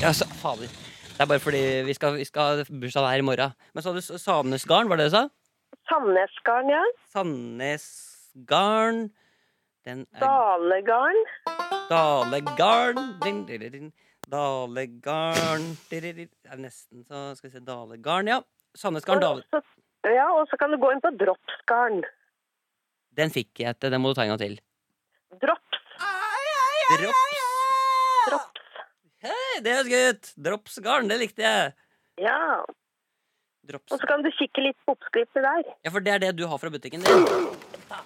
S3: Ja, så, fader. Det er bare fordi vi skal, vi skal ha bursdag her i morgen. Men sa du s- Sandnesgarn, var det det du sa?
S1: Sandnesgarn, ja.
S3: Sandnesgarn Den er
S1: Dalegarn.
S3: Dalegarn din, din, din, din. Dalegarn din, din, din. Det er nesten så Skal vi se Dalegarn, ja. Sandnesgarn,
S1: Og
S3: Dale...
S1: så, ja, og så kan du gå inn på Dropsgarn.
S3: Den fikk jeg til. Den må du ta en gang til.
S1: Drops.
S3: Drops.
S1: Drops.
S3: Hei, det er gutt! Dropsgarn, det likte jeg.
S1: Ja.
S3: Drops.
S1: Og så kan du kikke litt på oppskrifter der.
S3: Ja, for det er det du har fra butikken din.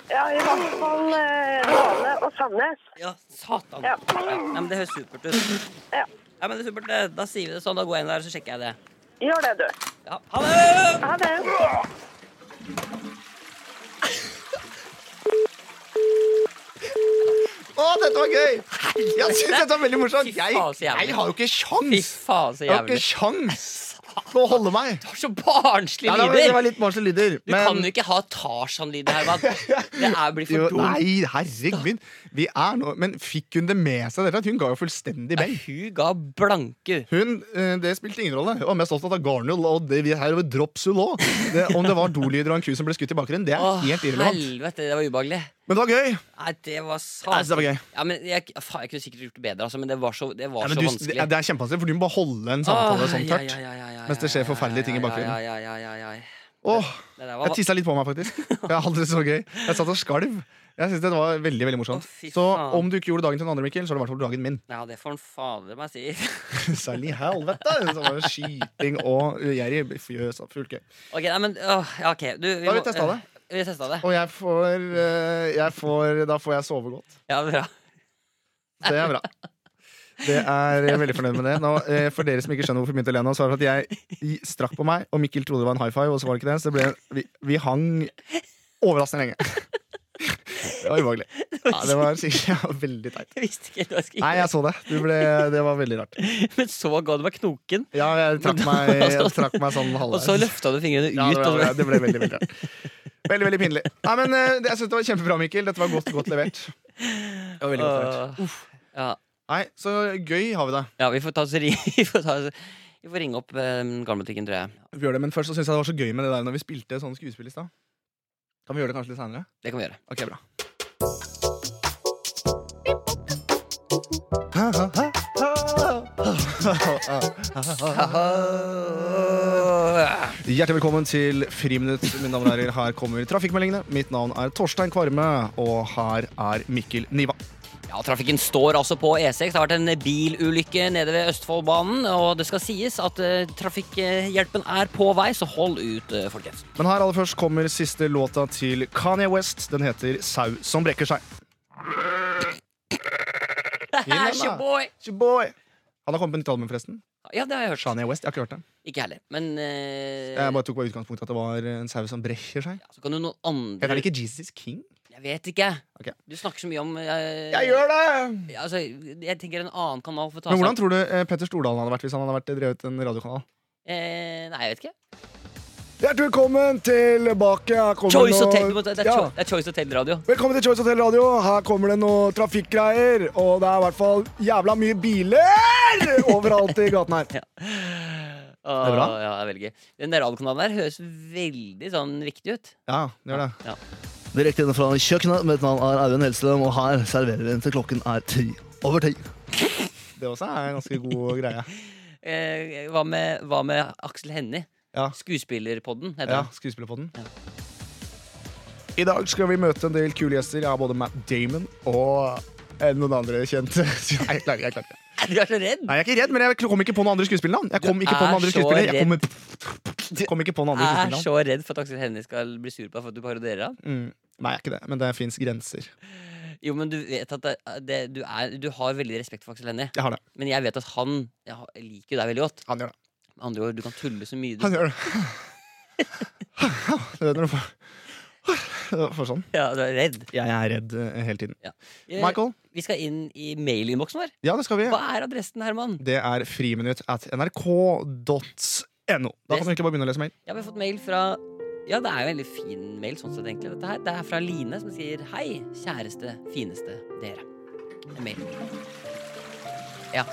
S1: Ja, i hvert fall eh, Dale og Sandnes.
S3: Ja, satan. Ja.
S1: Ja.
S3: Nei, men det høres supert ut.
S1: Ja.
S3: Ja, men det er supert. det. Da sier vi det sånn. Da går jeg inn der, så sjekker jeg det.
S1: Gjør det, du.
S3: Ja, ha det!
S2: Mm.
S1: Ha det.
S2: Å, dette var gøy! Jeg synes dette var veldig morsomt.
S3: Fy
S2: Jeg,
S3: faen, så jævlig.
S2: jeg har jo ikke
S3: Fy
S2: sjans!
S3: faen, så
S2: Jeg har
S3: jævlig.
S2: ikke sjans til å holde meg.
S3: Du har så barnslige
S2: Ja, det var, det var
S3: lyder!
S2: litt barnslige lyder.
S3: Du kan jo ikke ha Tarzan-lyder her, mann. Det er blir
S2: Jo,
S3: for dumt.
S2: nei, herregud. Vi er nå Men fikk hun det med seg? Dette? Hun ga jo fullstendig beng.
S3: Hun ga blanke.
S2: Hun, eh, Det spilte ingen rolle. Hun var mest opptatt av Garnull og det vi her over Dropsul òg. Om det var dolyder og en ku som ble skutt i bakgrunnen, det er
S3: Å,
S2: helt irrelevant.
S3: helvete, det var ubehagelig.
S2: Men det var gøy.
S3: Nei, det var
S2: Nei, så det
S3: satan.
S2: var gøy.
S3: Ja, men jeg, faen, jeg kunne sikkert gjort det bedre, altså, men det var så, det var
S2: Ja, men
S3: så
S2: du,
S3: vanskelig.
S2: det er kjempevanskelig, for du må bare holde en samtale sånn
S3: Ah, ja,
S2: tørt.
S3: ja, ja, ja, ja,
S2: mens det skjer
S3: ja, ja,
S2: forferdelige ting i
S3: ja,
S2: bakgrunnen.
S3: ja, ja, ja, ja, ja, ja.
S2: Åh,
S3: Det der var-
S2: jeg tissa litt på meg, faktisk. Jeg hadde det så gøy Jeg satt og skalv. Jeg synes det var veldig, veldig morsomt
S3: Å, fy
S2: Så
S3: faen.
S2: om du ikke gjorde dagen til den andre, Mikkel, så er det i hvert fall dagen min.
S3: Ja, det får han fader meg si.
S2: Særlig i helvete! Så var det skyting og gjerrig fjøs og fullt gøy.
S3: Ok, nei, men åh, ja, ok du,
S2: Da har vi
S3: må-
S2: testet det.
S3: eh, Vi testa det.
S2: Og jeg får, eh, jeg får Da får jeg sove godt.
S3: Ja, bra.
S2: Det er bra. Det er jeg er veldig fornøyd med det. Nå, eh, for dere som ikke skjønner hvorfor vi begynte å le nå, så er det at jeg i- strakk på meg, og Mikkel trodde det var en high five, og så var det ikke det. Så det ble, vi, vi hang overraskende lenge. Det var ubehagelig. Ja, det var sikkert ja, veldig teit.
S3: Jeg visste ikke helt hva jeg skulle
S2: Nei, jeg så det. Du ble, det var veldig rart.
S3: gjøre. Men så ga du meg knoken,
S2: Ja, jeg trakk meg, jeg trakk meg sånn
S3: og
S2: halvveis.
S3: så løfta du fingrene ut.
S2: Ja, det,
S3: og
S2: ble,
S3: så-
S2: det ble veldig, veldig rart. Veldig, veldig pinlig. Nei, men eh, jeg synes det var kjempebra, Mikkel. Dette var godt, godt levert. Det var veldig godt levert.
S3: Åh, ja.
S2: Nei, så gøy har vi det.
S3: ja, vi får ta oss ri... Vi får, ta, oss- vi får ringe opp eh, garnbutikken, tror jeg.
S2: Vi gjør det, men først så synes jeg det var så gøy med det der når vi spilte sånne skuespill i stad. Kan vi gjøre det kanskje litt senere?
S3: Det kan vi gjøre.
S2: Ok, bra. Hjertelig velkommen til Friminutt. Mine damer og herrer, her kommer trafikkmeldingene. Mitt navn er Torstein Kvarme, og her er Mikkel Niva.
S3: Ja, Trafikken står altså på E6. Det har vært en bilulykke nede ved Østfoldbanen. Og det skal sies at eh, trafikkhjelpen er på vei, så hold ut, eh, folkens.
S2: Men her aller først kommer siste låta til Kanye West. Den heter Sau som brekker seg. Innrøm det.
S3: Boy.
S2: It's your boy. Han har kommet med nytt album, forresten.
S3: Ja, det har jeg hørt. sånn.
S2: Kanye West. Jeg har ikke hørt det.
S3: Ikke heller. Men eh,
S2: Jeg bare tok bare utgangspunkt i at det var en sau som brekker seg.
S3: ja, så kan jo noen andre
S2: Heter det ikke Jesus King?
S3: Jeg vet ikke.
S2: Ok.
S3: Du snakker så mye om eh,
S2: det!
S3: Altså, jeg tenker en annen kanal får ta
S2: Men
S3: seg
S2: hvordan tror du eh, Petter Stordalen hadde vært hvis han hadde vært drevet en radiokanal?
S3: Eh, nei, jeg vet ikke.
S4: Hjertelig velkommen tilbake. Her kommer
S3: Choice
S4: noe-
S3: Hotel, du må ta- det er,
S4: Ja.
S3: Cho- det er Choice Hotel-radio.
S4: Velkommen til Choice Hotel Radio. Her kommer det noe trafikkgreier. Og det er i hvert fall jævla mye biler overalt i gaten her.
S3: Åh,
S2: bra.
S3: Ja, det er veldig gøy. Den der radiokanalen der høres veldig sånn viktig ut.
S2: Ja, gjør det.
S3: Ja.
S5: Direkte inne fra kjøkkenet. Mitt navn er Audun Hellstrøm, og her serverer vi til klokken er ti over ti.
S2: Det også er en ganske god greie.
S3: Eh, hva, med, hva med Aksel Hennie?
S2: Ja.
S3: Skuespillerpodden heter
S2: Ja,
S3: han.
S2: Skuespillerpodden. I dag skal vi møte en del kule gjester. Jeg har både Matt Damon og eh, noen andre kjente. Nei, jeg klarer, jeg klarer. ikke.
S3: Du er så redd!
S2: Nei, jeg er ikke redd, men jeg kom ikke på noen andre skuespillernavn. Jeg kom ikke på
S3: er
S2: noen andre
S3: så
S2: skuespiller. Jeg
S3: redd.
S2: kom, kom ikke på noen andre
S3: Jeg er
S2: skuespillernavn.
S3: så redd for at Aksel Hennie skal bli sur på deg for at du parodierer han.
S2: Mm. Nei, jeg er ikke det, men det fins grenser.
S3: Jo, men du vet at det, det, du, er, du har veldig respekt for Aksel Hennie.
S2: Jeg har det.
S3: Men jeg vet at han jeg har- liker jo deg veldig godt.
S2: Han gjør det.
S3: Med andre ord, du kan tulle så mye du
S2: Han gjør det. Du vet når du får Du får sånn.
S3: Ja, du er redd.
S2: Jeg er redd eh, hele tiden.
S3: Eh,
S2: Michael?
S3: Vi skal inn i mailinnboksen vår.
S2: Ja, det skal vi.
S3: Hva er adressen, Herman?
S2: Det er friminutt at nrk.no. Da kan du egentlig bare begynne å lese mail.
S3: Ja, vi har fått mail fra Ja, det er jo en veldig fin mail, sånn sett, egentlig, dette her. Det er fra Line, som sier Hei, kjæreste, fineste dere. Det er mail. Ja,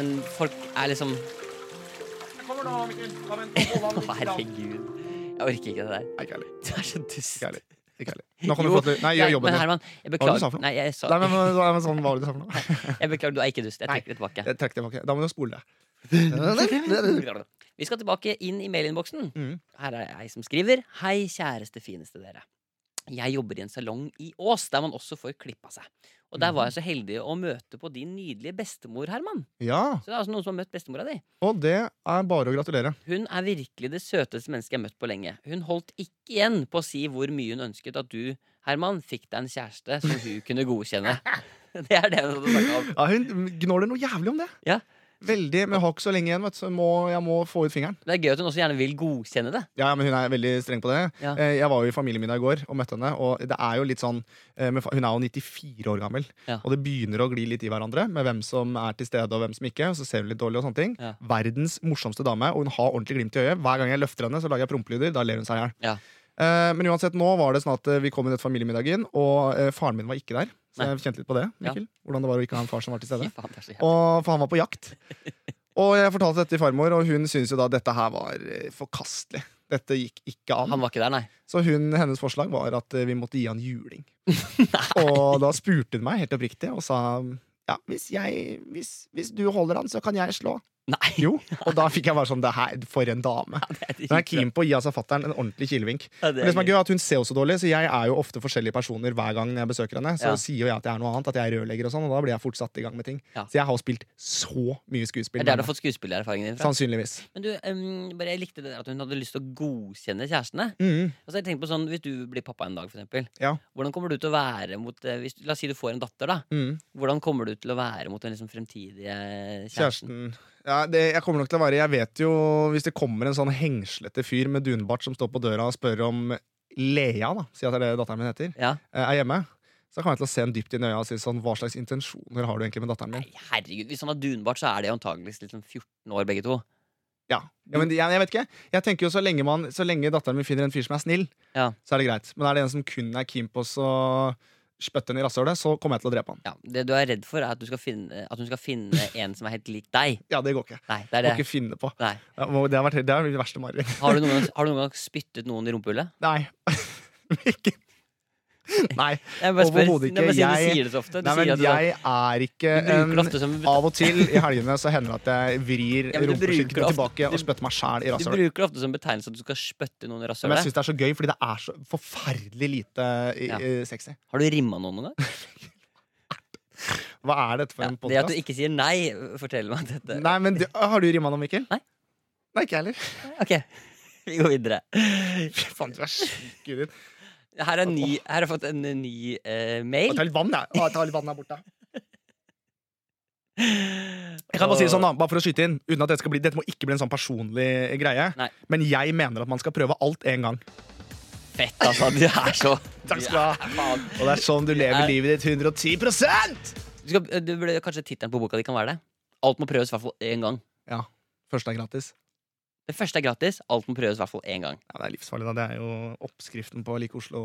S3: men folk er liksom Å, herregud. Jeg orker ikke det der.
S2: Nei, ikke heller.
S3: Du er så dust.
S2: Ikke heller. Ikke heller. Nå kan du
S3: Jo,
S2: få til Nei,
S3: jeg-
S2: gjør jobben
S3: men
S2: din.
S3: Herman, jeg
S2: Hva var det du sa for
S3: beklager.
S2: noe?
S3: Nei, jeg, sa,
S2: Nei, men, men, men sånn, Hva var det du sa for noe?
S3: jeg beklager, du er ikke dust. Jeg trekker det tilbake.
S2: Jeg trakk tilbake. Da må du spole det.
S3: Vi skal tilbake inn i mailinnboksen.
S2: Mm.
S3: Her er ei som skriver. Hei, kjæreste fineste dere. Jeg jobber i en salong i Ås, der man også får klippa seg. Og der var jeg så heldig å møte på din nydelige bestemor, Herman.
S2: Ja,
S3: Så det er altså noen som har møtt bestemora di.
S2: og det er bare å gratulere.
S3: Hun er virkelig det søteste mennesket jeg har møtt på lenge. Hun holdt ikke igjen på å si hvor mye hun ønsket at du, Herman, fikk deg en kjæreste som hun kunne godkjenne. Det er det hun hadde snakka om.
S2: Ja, hun gnåler noe jævlig om det.
S3: Ja.
S2: Veldig, men har ikke så lenge igjen. Vet du. så Må, jeg må få ut fingeren.
S3: Det er gøy at hun også gjerne vil godkjenne det.
S2: Ja, men Hun er veldig streng på det.
S3: Ja.
S2: Eh, Jeg var jo i familiemiddag i går og møtte henne. Og det er jo litt sånn eh, men fa- Hun er jo 94 år gammel,
S3: Ja.
S2: og det begynner å gli litt i hverandre med hvem som er til stede og hvem som ikke. Og så ser hun litt dårlig og sånne ting
S3: Ja.
S2: Verdens morsomste dame, og hun har ordentlig glimt i øyet. Hver gang jeg løfter henne, så lager jeg prompelyder. Da ler hun seg i hjel.
S3: Ja.
S2: Eh, Men uansett, nå var det sånn at eh, vi kom inn etter familiemiddagen, og eh, faren min var ikke der. Så
S3: Nei.
S2: jeg kjente litt på det.
S3: Ja.
S2: Mikkel, Hvordan det var å ikke ha en far som var til
S3: Fy
S2: stede.
S3: faen, det er så jævlig.
S2: Og, for han var på jakt. Og jeg fortalte dette til farmor, og hun syntes jo da dette her var eh, forkastelig. Dette gikk ikke an.
S3: Han var ikke der, nei.
S2: Så hun, hennes forslag var at eh, vi måtte gi han juling. og da spurte hun meg helt oppriktig og sa ja, hvis, jeg, hvis, hvis du holder han, så kan jeg slå.
S3: Nei.
S2: Jo, Og da fikk jeg bare sånn det her, For en dame.
S3: Det
S2: Hun er keen på å gi altså fatter'n en ordentlig kilevink.
S3: Ja,
S2: Men
S3: det er
S2: det som er
S3: gøy.
S2: gøy er at Hun ser også dårlig, så jeg er jo ofte forskjellige personer hver gang jeg besøker henne. Så
S3: Ja.
S2: sier jo jeg at jeg er noe annet, at jeg er rørlegger og sånn, og da blir jeg fort satt i gang med ting.
S3: Ja.
S2: Så jeg har jo spilt så mye skuespill.
S3: Det er der du
S2: med
S3: har fått skuespillererfaringen din
S2: henne.
S3: fra.
S2: Sannsynligvis.
S3: Men du, em, bare jeg likte det der at hun hadde lyst til å godkjenne kjærestene.
S2: Mm.
S3: Altså, jeg tenker på sånn, Hvis du blir pappa en dag, for eksempel,
S2: Ja.
S3: hvordan kommer du til å være mot eh, hvis, La oss si du får en datter, da.
S2: Mm.
S3: Hvordan kommer du til å være mot den liksom, fremtidige kjæresten?
S2: Kjæresten. Ja, det, jeg kommer nok til å være Jeg vet jo hvis det kommer en sånn hengslete fyr med dunbart som står på døra og spør om Lea, da, si at det er det datteren min heter,
S3: Ja.
S2: eh, er hjemme, så kommer jeg til å se henne dypt inn i øya og si sånn Hva slags intensjoner har du egentlig med datteren min?
S3: Nei, herregud, Hvis han har dunbart, så er de antakeligvis liksom 14 år, begge to.
S2: Ja, ja men jeg, jeg vet ikke. Jeg tenker jo så lenge, man, så lenge datteren min finner en fyr som er snill,
S3: Ja.
S2: så er det greit. Men er det en som kun er keen på å så spytte henne i rasshølet, så kommer jeg til å drepe han.
S3: Ja, Det du er redd for, er at, du skal finne, at hun skal finne en som er helt lik deg.
S2: Ja, det går ikke.
S3: Nei, det
S2: Må
S3: er det.
S2: ikke finne på.
S3: Nei.
S2: Ja, må- Det har vært, det er mitt verste mareritt.
S3: Har, du noen gang, har du noen gang spyttet noen i rumpehullet?
S2: Nei. ikke. Nei.
S3: Jeg bare spør,
S2: Overhodet ikke.
S3: Nei, men siden
S2: Jeg-
S3: Du sier det så ofte. Du
S2: Nei, men
S3: sier at du,
S2: jeg er ikke
S3: du bruker det
S2: en
S3: ofte som
S2: Av og til i helgene så hender det at jeg vrir
S3: Ja, men du bruker
S2: rumpeskinken
S3: ofte-
S2: tilbake
S3: du-
S2: og spytter meg sjæl i
S3: Du
S2: rasshølet.
S3: bruker det ofte som betegnelse at du skal spytte noen i
S2: Altså- Men jeg
S3: rasshølet.
S2: syns det er så gøy, fordi det er så forferdelig lite i,
S3: Ja.
S2: i- sexy.
S3: Har du rimma noen noen gang?
S2: Hva er dette for
S3: Ja,
S2: en
S3: det at du
S2: podkast?
S3: ikke sier nei, forteller meg at dette.
S2: Nei, men du, har du rima nå, Mikkel?
S3: Nei.
S2: Nei, ikke jeg heller.
S3: Ok, vi går videre.
S2: Faen, du er sjuk i ditt.
S3: Her er, en ny, her har jeg fått en ny eh, mail.
S2: Ta litt vann, jeg. Å, Ta litt vann der borte. Jeg kan bare si det sånn da, bare for å skyte inn Uten at Dette skal bli, dette må ikke bli en sånn personlig greie,
S3: Nei.
S2: men jeg mener at man skal prøve alt én gang.
S3: Fett, altså. Du er så
S2: Takk skal du ha.
S3: Ja, faen.
S2: Og det er sånn du lever
S3: er-
S2: livet ditt 110
S3: Du skal, du burde, kanskje tittelen på boka di kan være det. Alt må prøves i hvert fall én gang.
S2: Ja, første er gratis.
S3: Det første er gratis. Alt må prøves i hvert fall én gang.
S2: Ja, det er livsfarlig, da. Det er jo oppskriften på å like Oslo.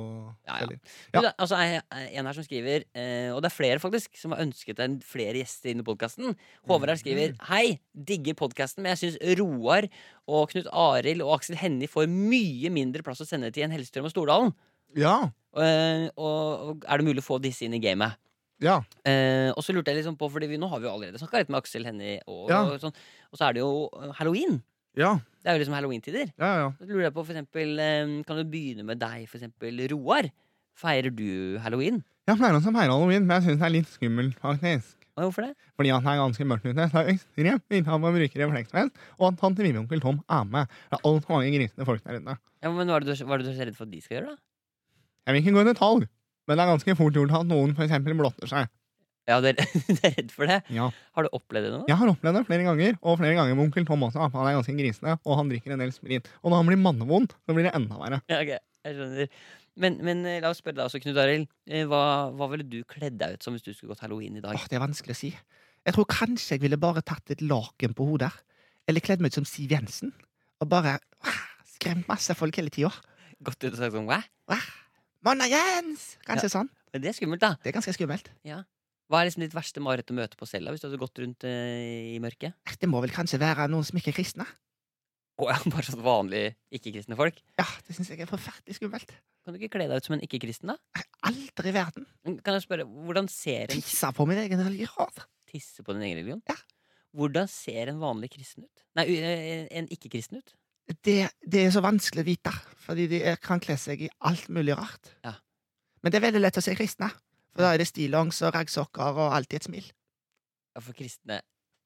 S3: Ja, ja.
S2: Eller-
S3: Du, det er- altså, er er en her som skriver, eh, og det er flere faktisk som har ønsket en flere gjester inn i podkasten. Håvard her skriver Hei, digger podkasten, men jeg syns Roar og Knut Arild og Aksel Hennie får mye mindre plass å sende til enn Hellstrøm og Stordalen.
S2: ja.
S3: Eh, og, og er det mulig å få disse inn i gamet?
S2: ja.
S3: Eh, og så lurte jeg liksom på, fordi vi, nå har vi jo allerede snakka litt med Aksel Hennie, og,
S2: Ja.
S3: og, sånn, og så er det jo eh, halloween.
S2: Ja,
S3: Det er jo liksom halloween-tider.
S2: ja, ja.
S3: Så lurer jeg på, for eksempel, eh, Kan du begynne med deg, for eksempel, Roar? Feirer du halloween?
S2: Jeg pleier å feire halloween, men jeg syns den er litt skummel. faktisk.
S3: Og hvorfor det?
S2: Fordi at den er ganske mørkt ute. Det er ekstremt fint at man bruker refleksvest, og at tante Vivi og onkel Tom er med. Det er altfor mange grisende folk der inne.
S3: Ja, men hva er, det du, hva er det du er så redd for at de skal gjøre, da?
S2: Jeg vil ikke gå i detalj, men det er ganske fort gjort at noen for eksempel blotter seg.
S3: Ja, du er, du er redd for det?
S2: Ja.
S3: Har du opplevd det nå?
S2: Jeg har opplevd det flere ganger, og flere ganger med onkel Tom også. for Han er ganske grisende, og han drikker en del sprit. Og når han blir mannevond, så blir det enda verre.
S3: ok, jeg skjønner. Men, men eh, la oss spørre deg også, Knut Arild. Eh, Hva, hva ville du kledd deg ut som hvis du skulle gått halloween i dag?
S2: Åh, Ah, det er vanskelig å si. Jeg tror kanskje jeg ville bare tatt et laken på hodet. Eller kledd meg ut som Siv Jensen. Og bare ah, skremt masse folk hele tida.
S3: Gått ut og sagt sånn Hva?
S2: Manna Jens! Kanskje sånn.
S3: Men det er skummelt, da.
S2: Det er ganske skummelt.
S3: Hva er liksom ditt verste mareritt å møte på selv, da, hvis du hadde gått rundt eh, i mørket?
S2: Eh, Det må vel kanskje være noen som ikke er kristne?
S3: Å ja, bare sånn vanlige ikke-kristne folk.
S2: Ja, det syns jeg er forferdelig skummelt.
S3: Kan du ikke kle deg ut som en ikke-kristen, da?
S2: Aldri i verden
S3: Men Kan jeg spørre, hvordan ser en
S2: tissa på min egen religion.
S3: tisse på din egen religion?
S2: Ja.
S3: Hvordan ser en vanlig kristen ut? Nei, u- eh, en ikke-kristen ut?
S2: Det, det er så vanskelig å vite, fordi de er- kan kle seg i alt mulig rart.
S3: Ja.
S2: Men det er veldig lett å se kristne. For da er det stillongs og raggsokker og alltid et smil.
S3: Ja, for kristne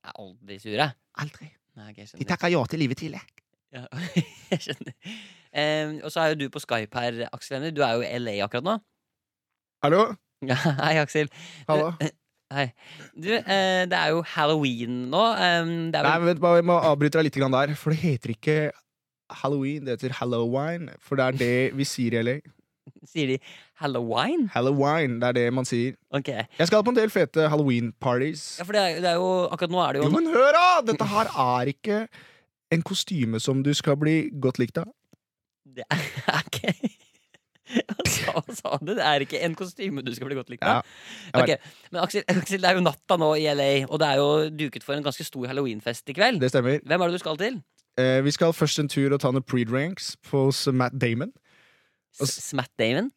S3: er aldri sure.
S2: Aldri.
S3: Nei, ok, jeg
S2: De
S3: skjønner.
S2: takker ja til livet tidlig.
S3: Ja, jeg skjønner. Em, og så er jo du på Skype her, Aksel Hennie. Du er jo i LA akkurat nå.
S2: Hallo?
S3: Ja, hei, Aksel.
S2: Hallo.
S3: Hei. Du, eh, det er jo halloween nå. Em, det er
S2: Nei,
S3: vel,
S2: men vet du hva, Vi må avbryte deg litt grann der, for det heter ikke halloween, det heter halloween. For det er det vi sier i LA.
S3: sier de halloween?
S2: Halloween, det er det man sier.
S3: Ok.
S2: Jeg skal på en del fete halloween-parties.
S3: Ja, for det er, det er jo Akkurat nå er det
S2: Jo,
S3: jo
S2: men hør, da! Dette her er ikke en kostyme som du skal bli godt likt av.
S3: Det er ikke Hva sa, hva sa du? Det er ikke en kostyme du skal bli godt likt
S2: Ja,
S3: av.
S2: jeg
S3: Ok, Men Aksel, Aksel, det er jo natta nå i LA, og det er jo duket for en ganske stor halloweenfest i kveld.
S2: Det stemmer.
S3: Hvem er det du skal til?
S2: Eh, vi skal først en tur og ta noen pre-drinks hos Matt Damon. Og
S3: S- Smatt Damon?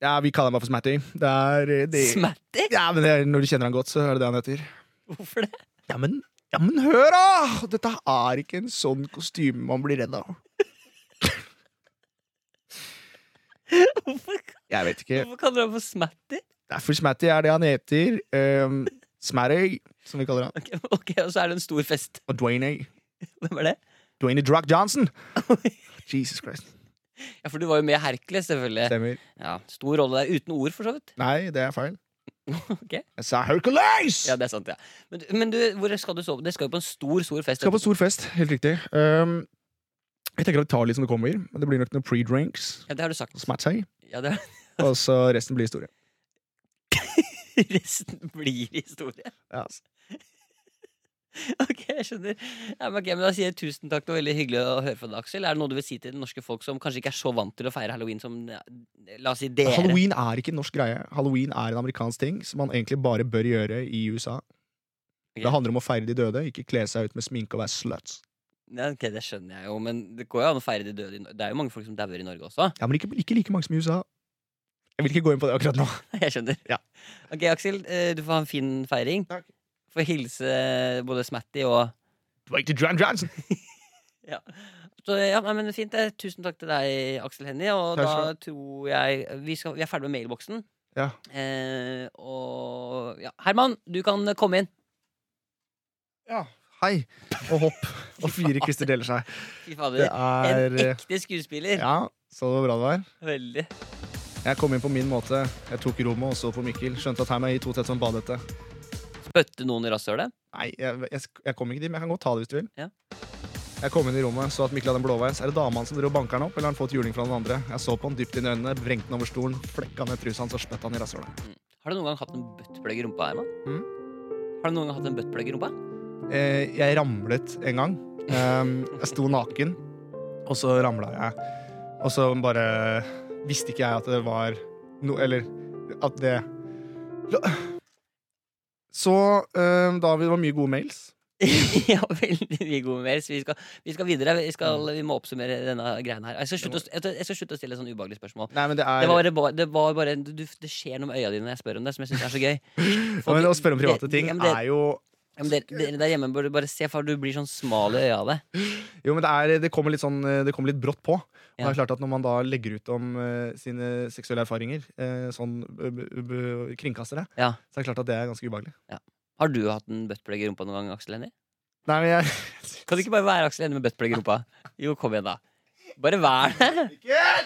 S2: Ja, Vi kaller ham bare for Smatty. Det er eh, det,
S3: Smatty?
S2: ja, men det er, Når du kjenner han godt, så er det det han heter.
S3: Hvorfor det?
S2: Ja, men, ja, men hør, da! Dette er ikke en sånn kostyme man blir redd av.
S3: Hvorfor,
S2: Jeg vet ikke.
S3: hvorfor kaller du ham for Smatty?
S2: Nei, for Smatty er det han heter. Um, Smatty, som vi kaller han.
S3: Ok, ok, Og så er det en stor fest.
S2: Og Dwayne,
S3: Hvem er det?
S2: Dwayne Druck Johnson. Jesus Christ.
S3: Ja, For du var jo med i Hercules, selvfølgelig.
S2: Stemmer.
S3: Ja, Stor rolle der, uten ord, for så vidt.
S2: Nei, det er feil.
S3: Ok,
S2: Jeg sa Hercules!
S3: Ja, det er sant, ja. Men, du- men du, hvor skal du sove? Det skal jo på en stor, stor fest.
S2: Skal på stor fest, helt riktig. Um, jeg tenker at vi tar litt som det kommer. Men det blir nok noen pre-drinks.
S3: Ja, det har du sagt.
S2: Smatty.
S3: Ja, det
S2: Og så resten blir historie.
S3: Resten blir historie.
S2: Ja.
S3: Ok, jeg skjønner. Ja, men, ok, men Da sier jeg tusen takk. Det var veldig hyggelig å høre fra deg, Aksel. Er det noe du vil si til det norske folk som kanskje ikke er så vant til å feire halloween som ja, La oss si dere?
S2: Halloween er ikke en norsk greie. Halloween er en amerikansk ting som man egentlig bare bør gjøre i USA.
S3: Ok.
S2: Det handler om å feire de døde, ikke kle seg ut med sminke og være sluts.
S3: Ja, ok, Det skjønner jeg jo, men det går jo an å feire de døde i Nor- Det er jo mange folk som dauer i Norge også.
S2: Ja, men ikke, ikke like mange som i USA. Jeg vil ikke gå inn på det akkurat nå.
S3: Jeg skjønner.
S2: Ja.
S3: Ok, Aksel, eh, du får ha en fin feiring.
S2: Takk.
S3: Få hilse eh, både Smatty og
S2: Wait to John Johnson.
S3: Ja. Så, ja, nei, men fint. eh, Tusen takk til deg, Aksel Hennie. Og
S2: Takk
S3: da
S2: skal
S3: tror jeg vi, skal, vi er ferdig med mailboksen.
S2: Ja.
S3: Eh, og ja. Herman, du kan eh, komme inn.
S2: Hei. Og hopp. Og fire kvister deler seg.
S3: Fy
S2: Det
S3: fader.
S2: er
S3: En
S2: eh,
S3: ekte skuespiller.
S2: Ja, så det var bra det var.
S3: Veldig.
S2: Jeg kom inn på min måte. Jeg tok rommet og så på Mikkel. Skjønte at her må jeg gi to tett som badete.
S3: Spytte noen i rasshølet?
S2: Nei, jeg, jeg, jeg kom ikke dit, men jeg kan godt ta det hvis du vil.
S3: Ja.
S2: Jeg kom inn i rommet, så at Mikkel hadde en blåveis. Er det dama hans som driver og banker han opp, eller har han fått juling fra den andre? Jeg så på han dypt inn i øynene, vrengte han over stolen, flekka ned trusa hans og spytta han i rasshølet.
S3: Har du noen gang hatt en buttplug i rumpa, Herman?
S2: Mm.
S3: Har du noen gang hatt en buttplug i rumpa?
S2: Eh, jeg ramlet en gang. Ehm, jeg sto naken. Og så ramla jeg. Og så bare visste ikke jeg at det var noe Eller at det Så eh, da vi- det var mye gode mails.
S3: ja, veldig mye gode mer. Så vi skal, vi skal videre. Vi, skal, vi må oppsummere denne greia her. Jeg skal, slutte å, st- jeg jeg skal slutte å stille sånn ubehagelige spørsmål.
S2: Nei, men det
S3: Det,
S2: er
S3: var bare, det, var bare, du, det skjer noe med øya dine når jeg spør om det, som jeg syns er så gøy.
S2: Ja, men Å spørre om private
S3: Det-
S2: ting
S3: ja, men det-
S2: er jo
S3: Ja, men dere, dere der hjemme burde bare se, for du blir sånn smal i øya av det.
S2: Jo, men det, er, det, kommer litt sånn, eh, det kommer litt brått på. Og det
S3: Ja.
S2: er klart at Når man da legger ut om eh, sine seksuelle erfaringer, eh, sånn b- b- b- kringkastere,
S3: Ja.
S2: så er det klart at det er ganske ubehagelig.
S3: Har du hatt en buttplug i rumpa noen gang, Aksel Hennie?
S2: Nei, men jeg
S3: Kan du ikke bare være Aksel Hennie med buttplug i rumpa? Jo, kom igjen, da. Bare vær det.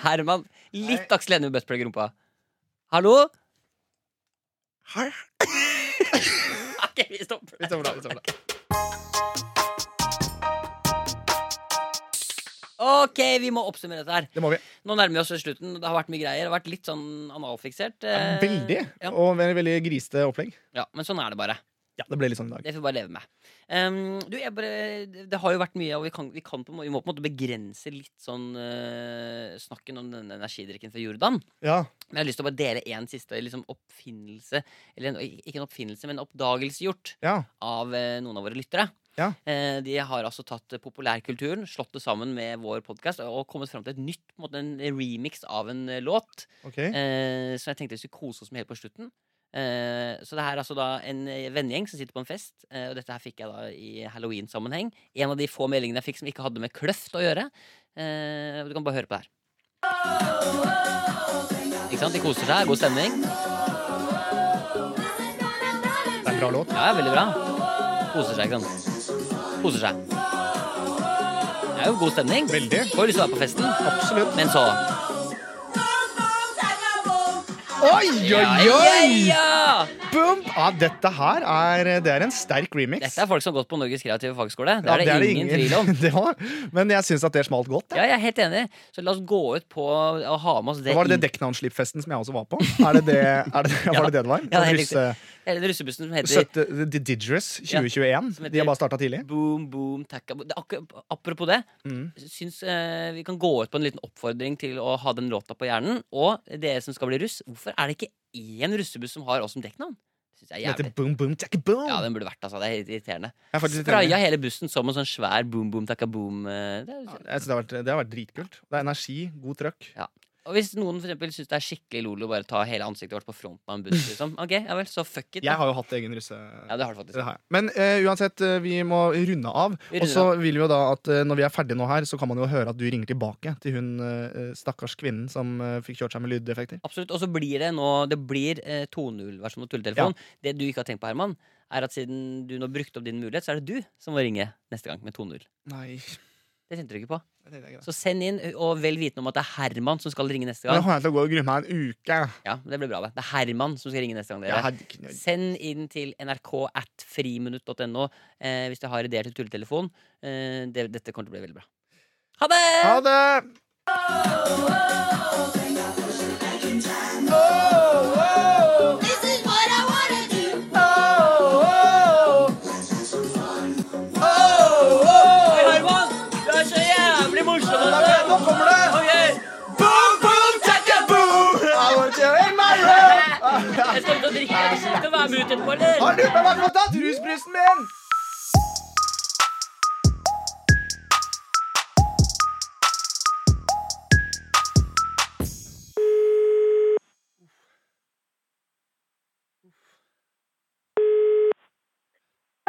S3: Herman, litt Aksel Hennie med buttplug i rumpa. Hallo? Ok, vi stopper
S2: Vi
S3: det.
S2: stopper der, vi stopper der.
S3: Ok, vi må oppsummere dette her.
S2: Det må vi.
S3: Nå nærmer vi oss slutten. Det har vært mye greier. Det har vært litt sånn analfiksert. eh,
S2: Veldig.
S3: Ja.
S2: Og veldig, veldig grisete opplegg.
S3: ja, men sånn er det bare.
S2: Det ble litt sånn i dag.
S3: Det får vi bare leve med. Ehm, du, jeg bare, det har jo vært mye, og vi, kan, vi, kan på, en må- vi må på en måte begrense litt sånn eh, snakken om denne energidrikken fra Jordan.
S2: Ja.
S3: Men jeg har lyst til å bare dele en siste liksom, oppfinnelse, eller en, ikke en oppfinnelse, men en oppdagelse gjort
S2: ja.
S3: av eh, noen av våre lyttere.
S2: Ja.
S3: Eh, de har altså tatt eh, populærkulturen, slått det sammen med vår podkast og kommet fram til et nytt, på en måte en remix av en eh, låt.
S2: Ok.
S3: Eh, så jeg tenkte vi skulle kose oss med helt på slutten. Eh, så det her er altså da en eh, vennegjeng som sitter på en fest, eh, og dette her fikk jeg da i halloween-sammenheng. En av de få meldingene jeg fikk som ikke hadde med kløft å gjøre. Eh, du kan bare høre på det her. Ikke sant? De koser seg, god stemning.
S2: Det er en bra låt.
S3: Ja, ja, veldig bra. Koser seg, ikke sant. Koser seg. Det er jo god stemning.
S2: Veldig.
S3: Får lyst til å være på festen.
S2: Absolutt.
S3: Men så
S2: Oi, oi,
S3: Ja, ja,
S2: oi!
S3: ja!
S2: Bum! Ja, dette her er Det er en sterk remix.
S3: Dette er folk som har gått på Norges kreative fagskole. Det
S2: Ja,
S3: er det, ingen, tvil om.
S2: det var, men jeg syns at det smalt godt.
S3: Ja, jeg er helt enig. Så la oss gå ut på å ha med oss det.
S2: Var det
S3: inn-
S2: det dekknavnslipfesten som jeg også var på? Er det det er det, var det det det var?
S3: Ja, det er
S2: Sånn russe,
S3: helt Det er den russebussen som heter
S2: søtte, The Didgerous 2021.
S3: Som heter-
S2: De har bare starta tidlig.
S3: Boom, boom, takka boom. Det er akkur- Apropos det,
S2: Mm.
S3: syns eh, vi kan gå ut på en liten oppfordring til å ha den låta på hjernen. Og dere som skal bli russ, hvorfor er det ikke én russebuss som har oss som dekknavn? Det synes jeg
S2: Den
S3: er
S2: heter
S3: jævlig.
S2: Boom Boom Takka Boom.
S3: Ja, den burde vært, altså. Det er helt irriterende.
S2: Jeg er faktisk litt enig.
S3: Spraya hele bussen som en sånn svær boom, boom, takka boom. eh, Det er,
S2: Jeg synes det, har vært, det har vært dritkult. Det er energi, god trøkk.
S3: Og hvis noen for eksempel syns det er skikkelig lolo å bare ta hele ansiktet vårt på fronten av en buss, liksom. Ok, ja vel, så fuck it. da.
S2: Jeg har jo hatt egen russe...
S3: Ja, det har du
S2: Det
S3: faktisk.
S2: har jeg. Men eh, uansett, eh, vi må runde av.
S3: Vi runder
S2: Og så vil vi jo da at eh, når vi er ferdige nå her, så kan man jo høre at du ringer tilbake til hun eh, stakkars kvinnen som eh, fikk kjørt seg med lyddefekter.
S3: Absolutt. Og så blir det nå Det blir eh, 2.0-versjon av tulletelefon. Det du ikke har tenkt på, Herman, er at siden du nå brukte opp din mulighet, så er det du som må ringe neste gang med 2.0.
S2: Nei,
S3: Det tenkte du ikke på.
S2: det er greit.
S3: Så send inn, og vel vitende om at det er Herman som skal ringe neste
S2: Men da
S3: gang.
S2: kommer jeg til å gå og grue meg en uke.
S3: Ja, det blir bra, det. Det er Herman som skal ringe neste gang,
S2: Jeg
S3: dere.
S2: hadde ikke-
S3: Send inn til nrk at friminutt.no eh, hvis du har ideer til tulletelefon. Eh, det, dette kommer til å bli veldig bra. Ha det!
S2: Ha det!
S6: This is what I wanna do.
S3: Hei, Herman! Du er så jævlig morsom! Nå kommer det! Jeg skal ut og drikke. Skal du være med ut etterpå, eller?
S2: Har du med meg fått rusbrusen min?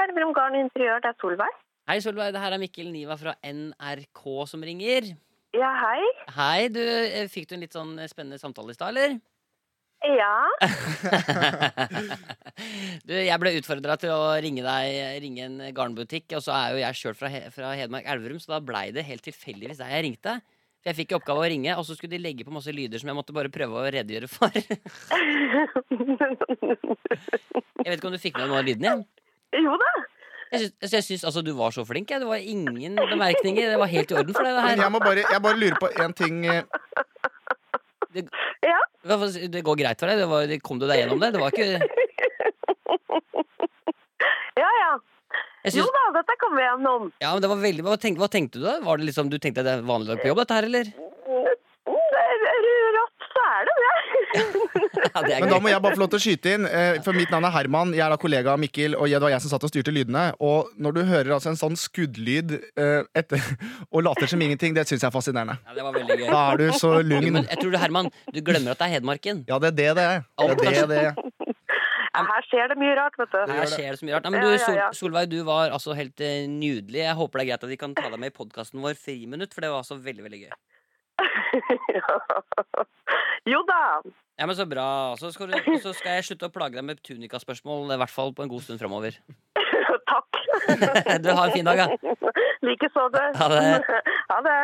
S1: Elverum Garn Interiør, det er Solveig.
S3: Hei, Solveig. Det her er Mikkel Niva fra NRK som ringer.
S1: Ja, hei.
S3: Hei, du. eh, Fikk du en litt sånn eh, spennende samtale i stad, eller?
S1: Ja.
S3: du, jeg ble utfordra til å ringe deg Ringe en garnbutikk, og så er jo jeg sjøl fra, He- fra Hedmark Elverum, så da blei det helt tilfeldigvis deg jeg ringte. For Jeg fikk i oppgave å ringe, og så skulle de legge på masse lyder som jeg måtte bare prøve å redegjøre for. Jeg vet ikke om du fikk med deg noe av lyden? Jeg,
S1: jo da.
S3: jeg, syns, jeg syns altså du var så flink. Jeg. Det var ingen bemerkninger. Det var helt i orden for deg, det her.
S2: Men jeg, må bare, jeg bare lurer på én ting. eh,
S1: Ja.
S3: Hva- hva- Det går greit for deg? Det var, det- kom du deg gjennom det? Det var ikke
S1: Ja, ja.
S3: Jeg
S1: Jo
S3: synes,
S1: da, dette kommer vi gjennom.
S3: ja, men det var veldig, hva, tenk, hva tenkte du da? Var det liksom, du tenkte at det er en vanlig dag på jobb, dette her, eller?
S1: Det er Rått, så er det det.
S3: Ja, det er
S2: Men da
S3: gøy.
S2: må jeg bare få lov til å skyte inn, eh, for mitt navn er Herman. Jeg er da kollega av Mikkel, og jeg- det var jeg som satt og styrte lydene. Og når du hører altså en sånn skuddlyd eh, etter, og later som ingenting, det syns jeg er fascinerende.
S3: Ja, det var veldig gøy.
S2: Da er du så
S3: Jo,
S2: lugn.
S3: men jeg tror du, Herman, du glemmer at det er Hedmarken.
S2: Ja, det er det det er. Det er det det er.
S1: Ja, her skjer det mye rart, vet du.
S3: Her skjer det så mye rart. Nei, men
S1: Ja,
S3: du,
S1: ja,
S3: Sol
S1: ja.
S3: Solveig, du var altså helt eh, nydelig. Jeg håper det er greit at vi kan ta deg med i podkasten vår Friminutt, for det var altså veldig, veldig gøy.
S1: Jo da.
S3: Ja, men Så bra. Så skal, du, så skal jeg slutte å plage deg med tunikaspørsmål, i hvert fall på en god stund framover.
S1: Takk.
S3: Du har en fin dag, ja.
S1: Likeså det.
S3: Ha det.
S1: Ha det.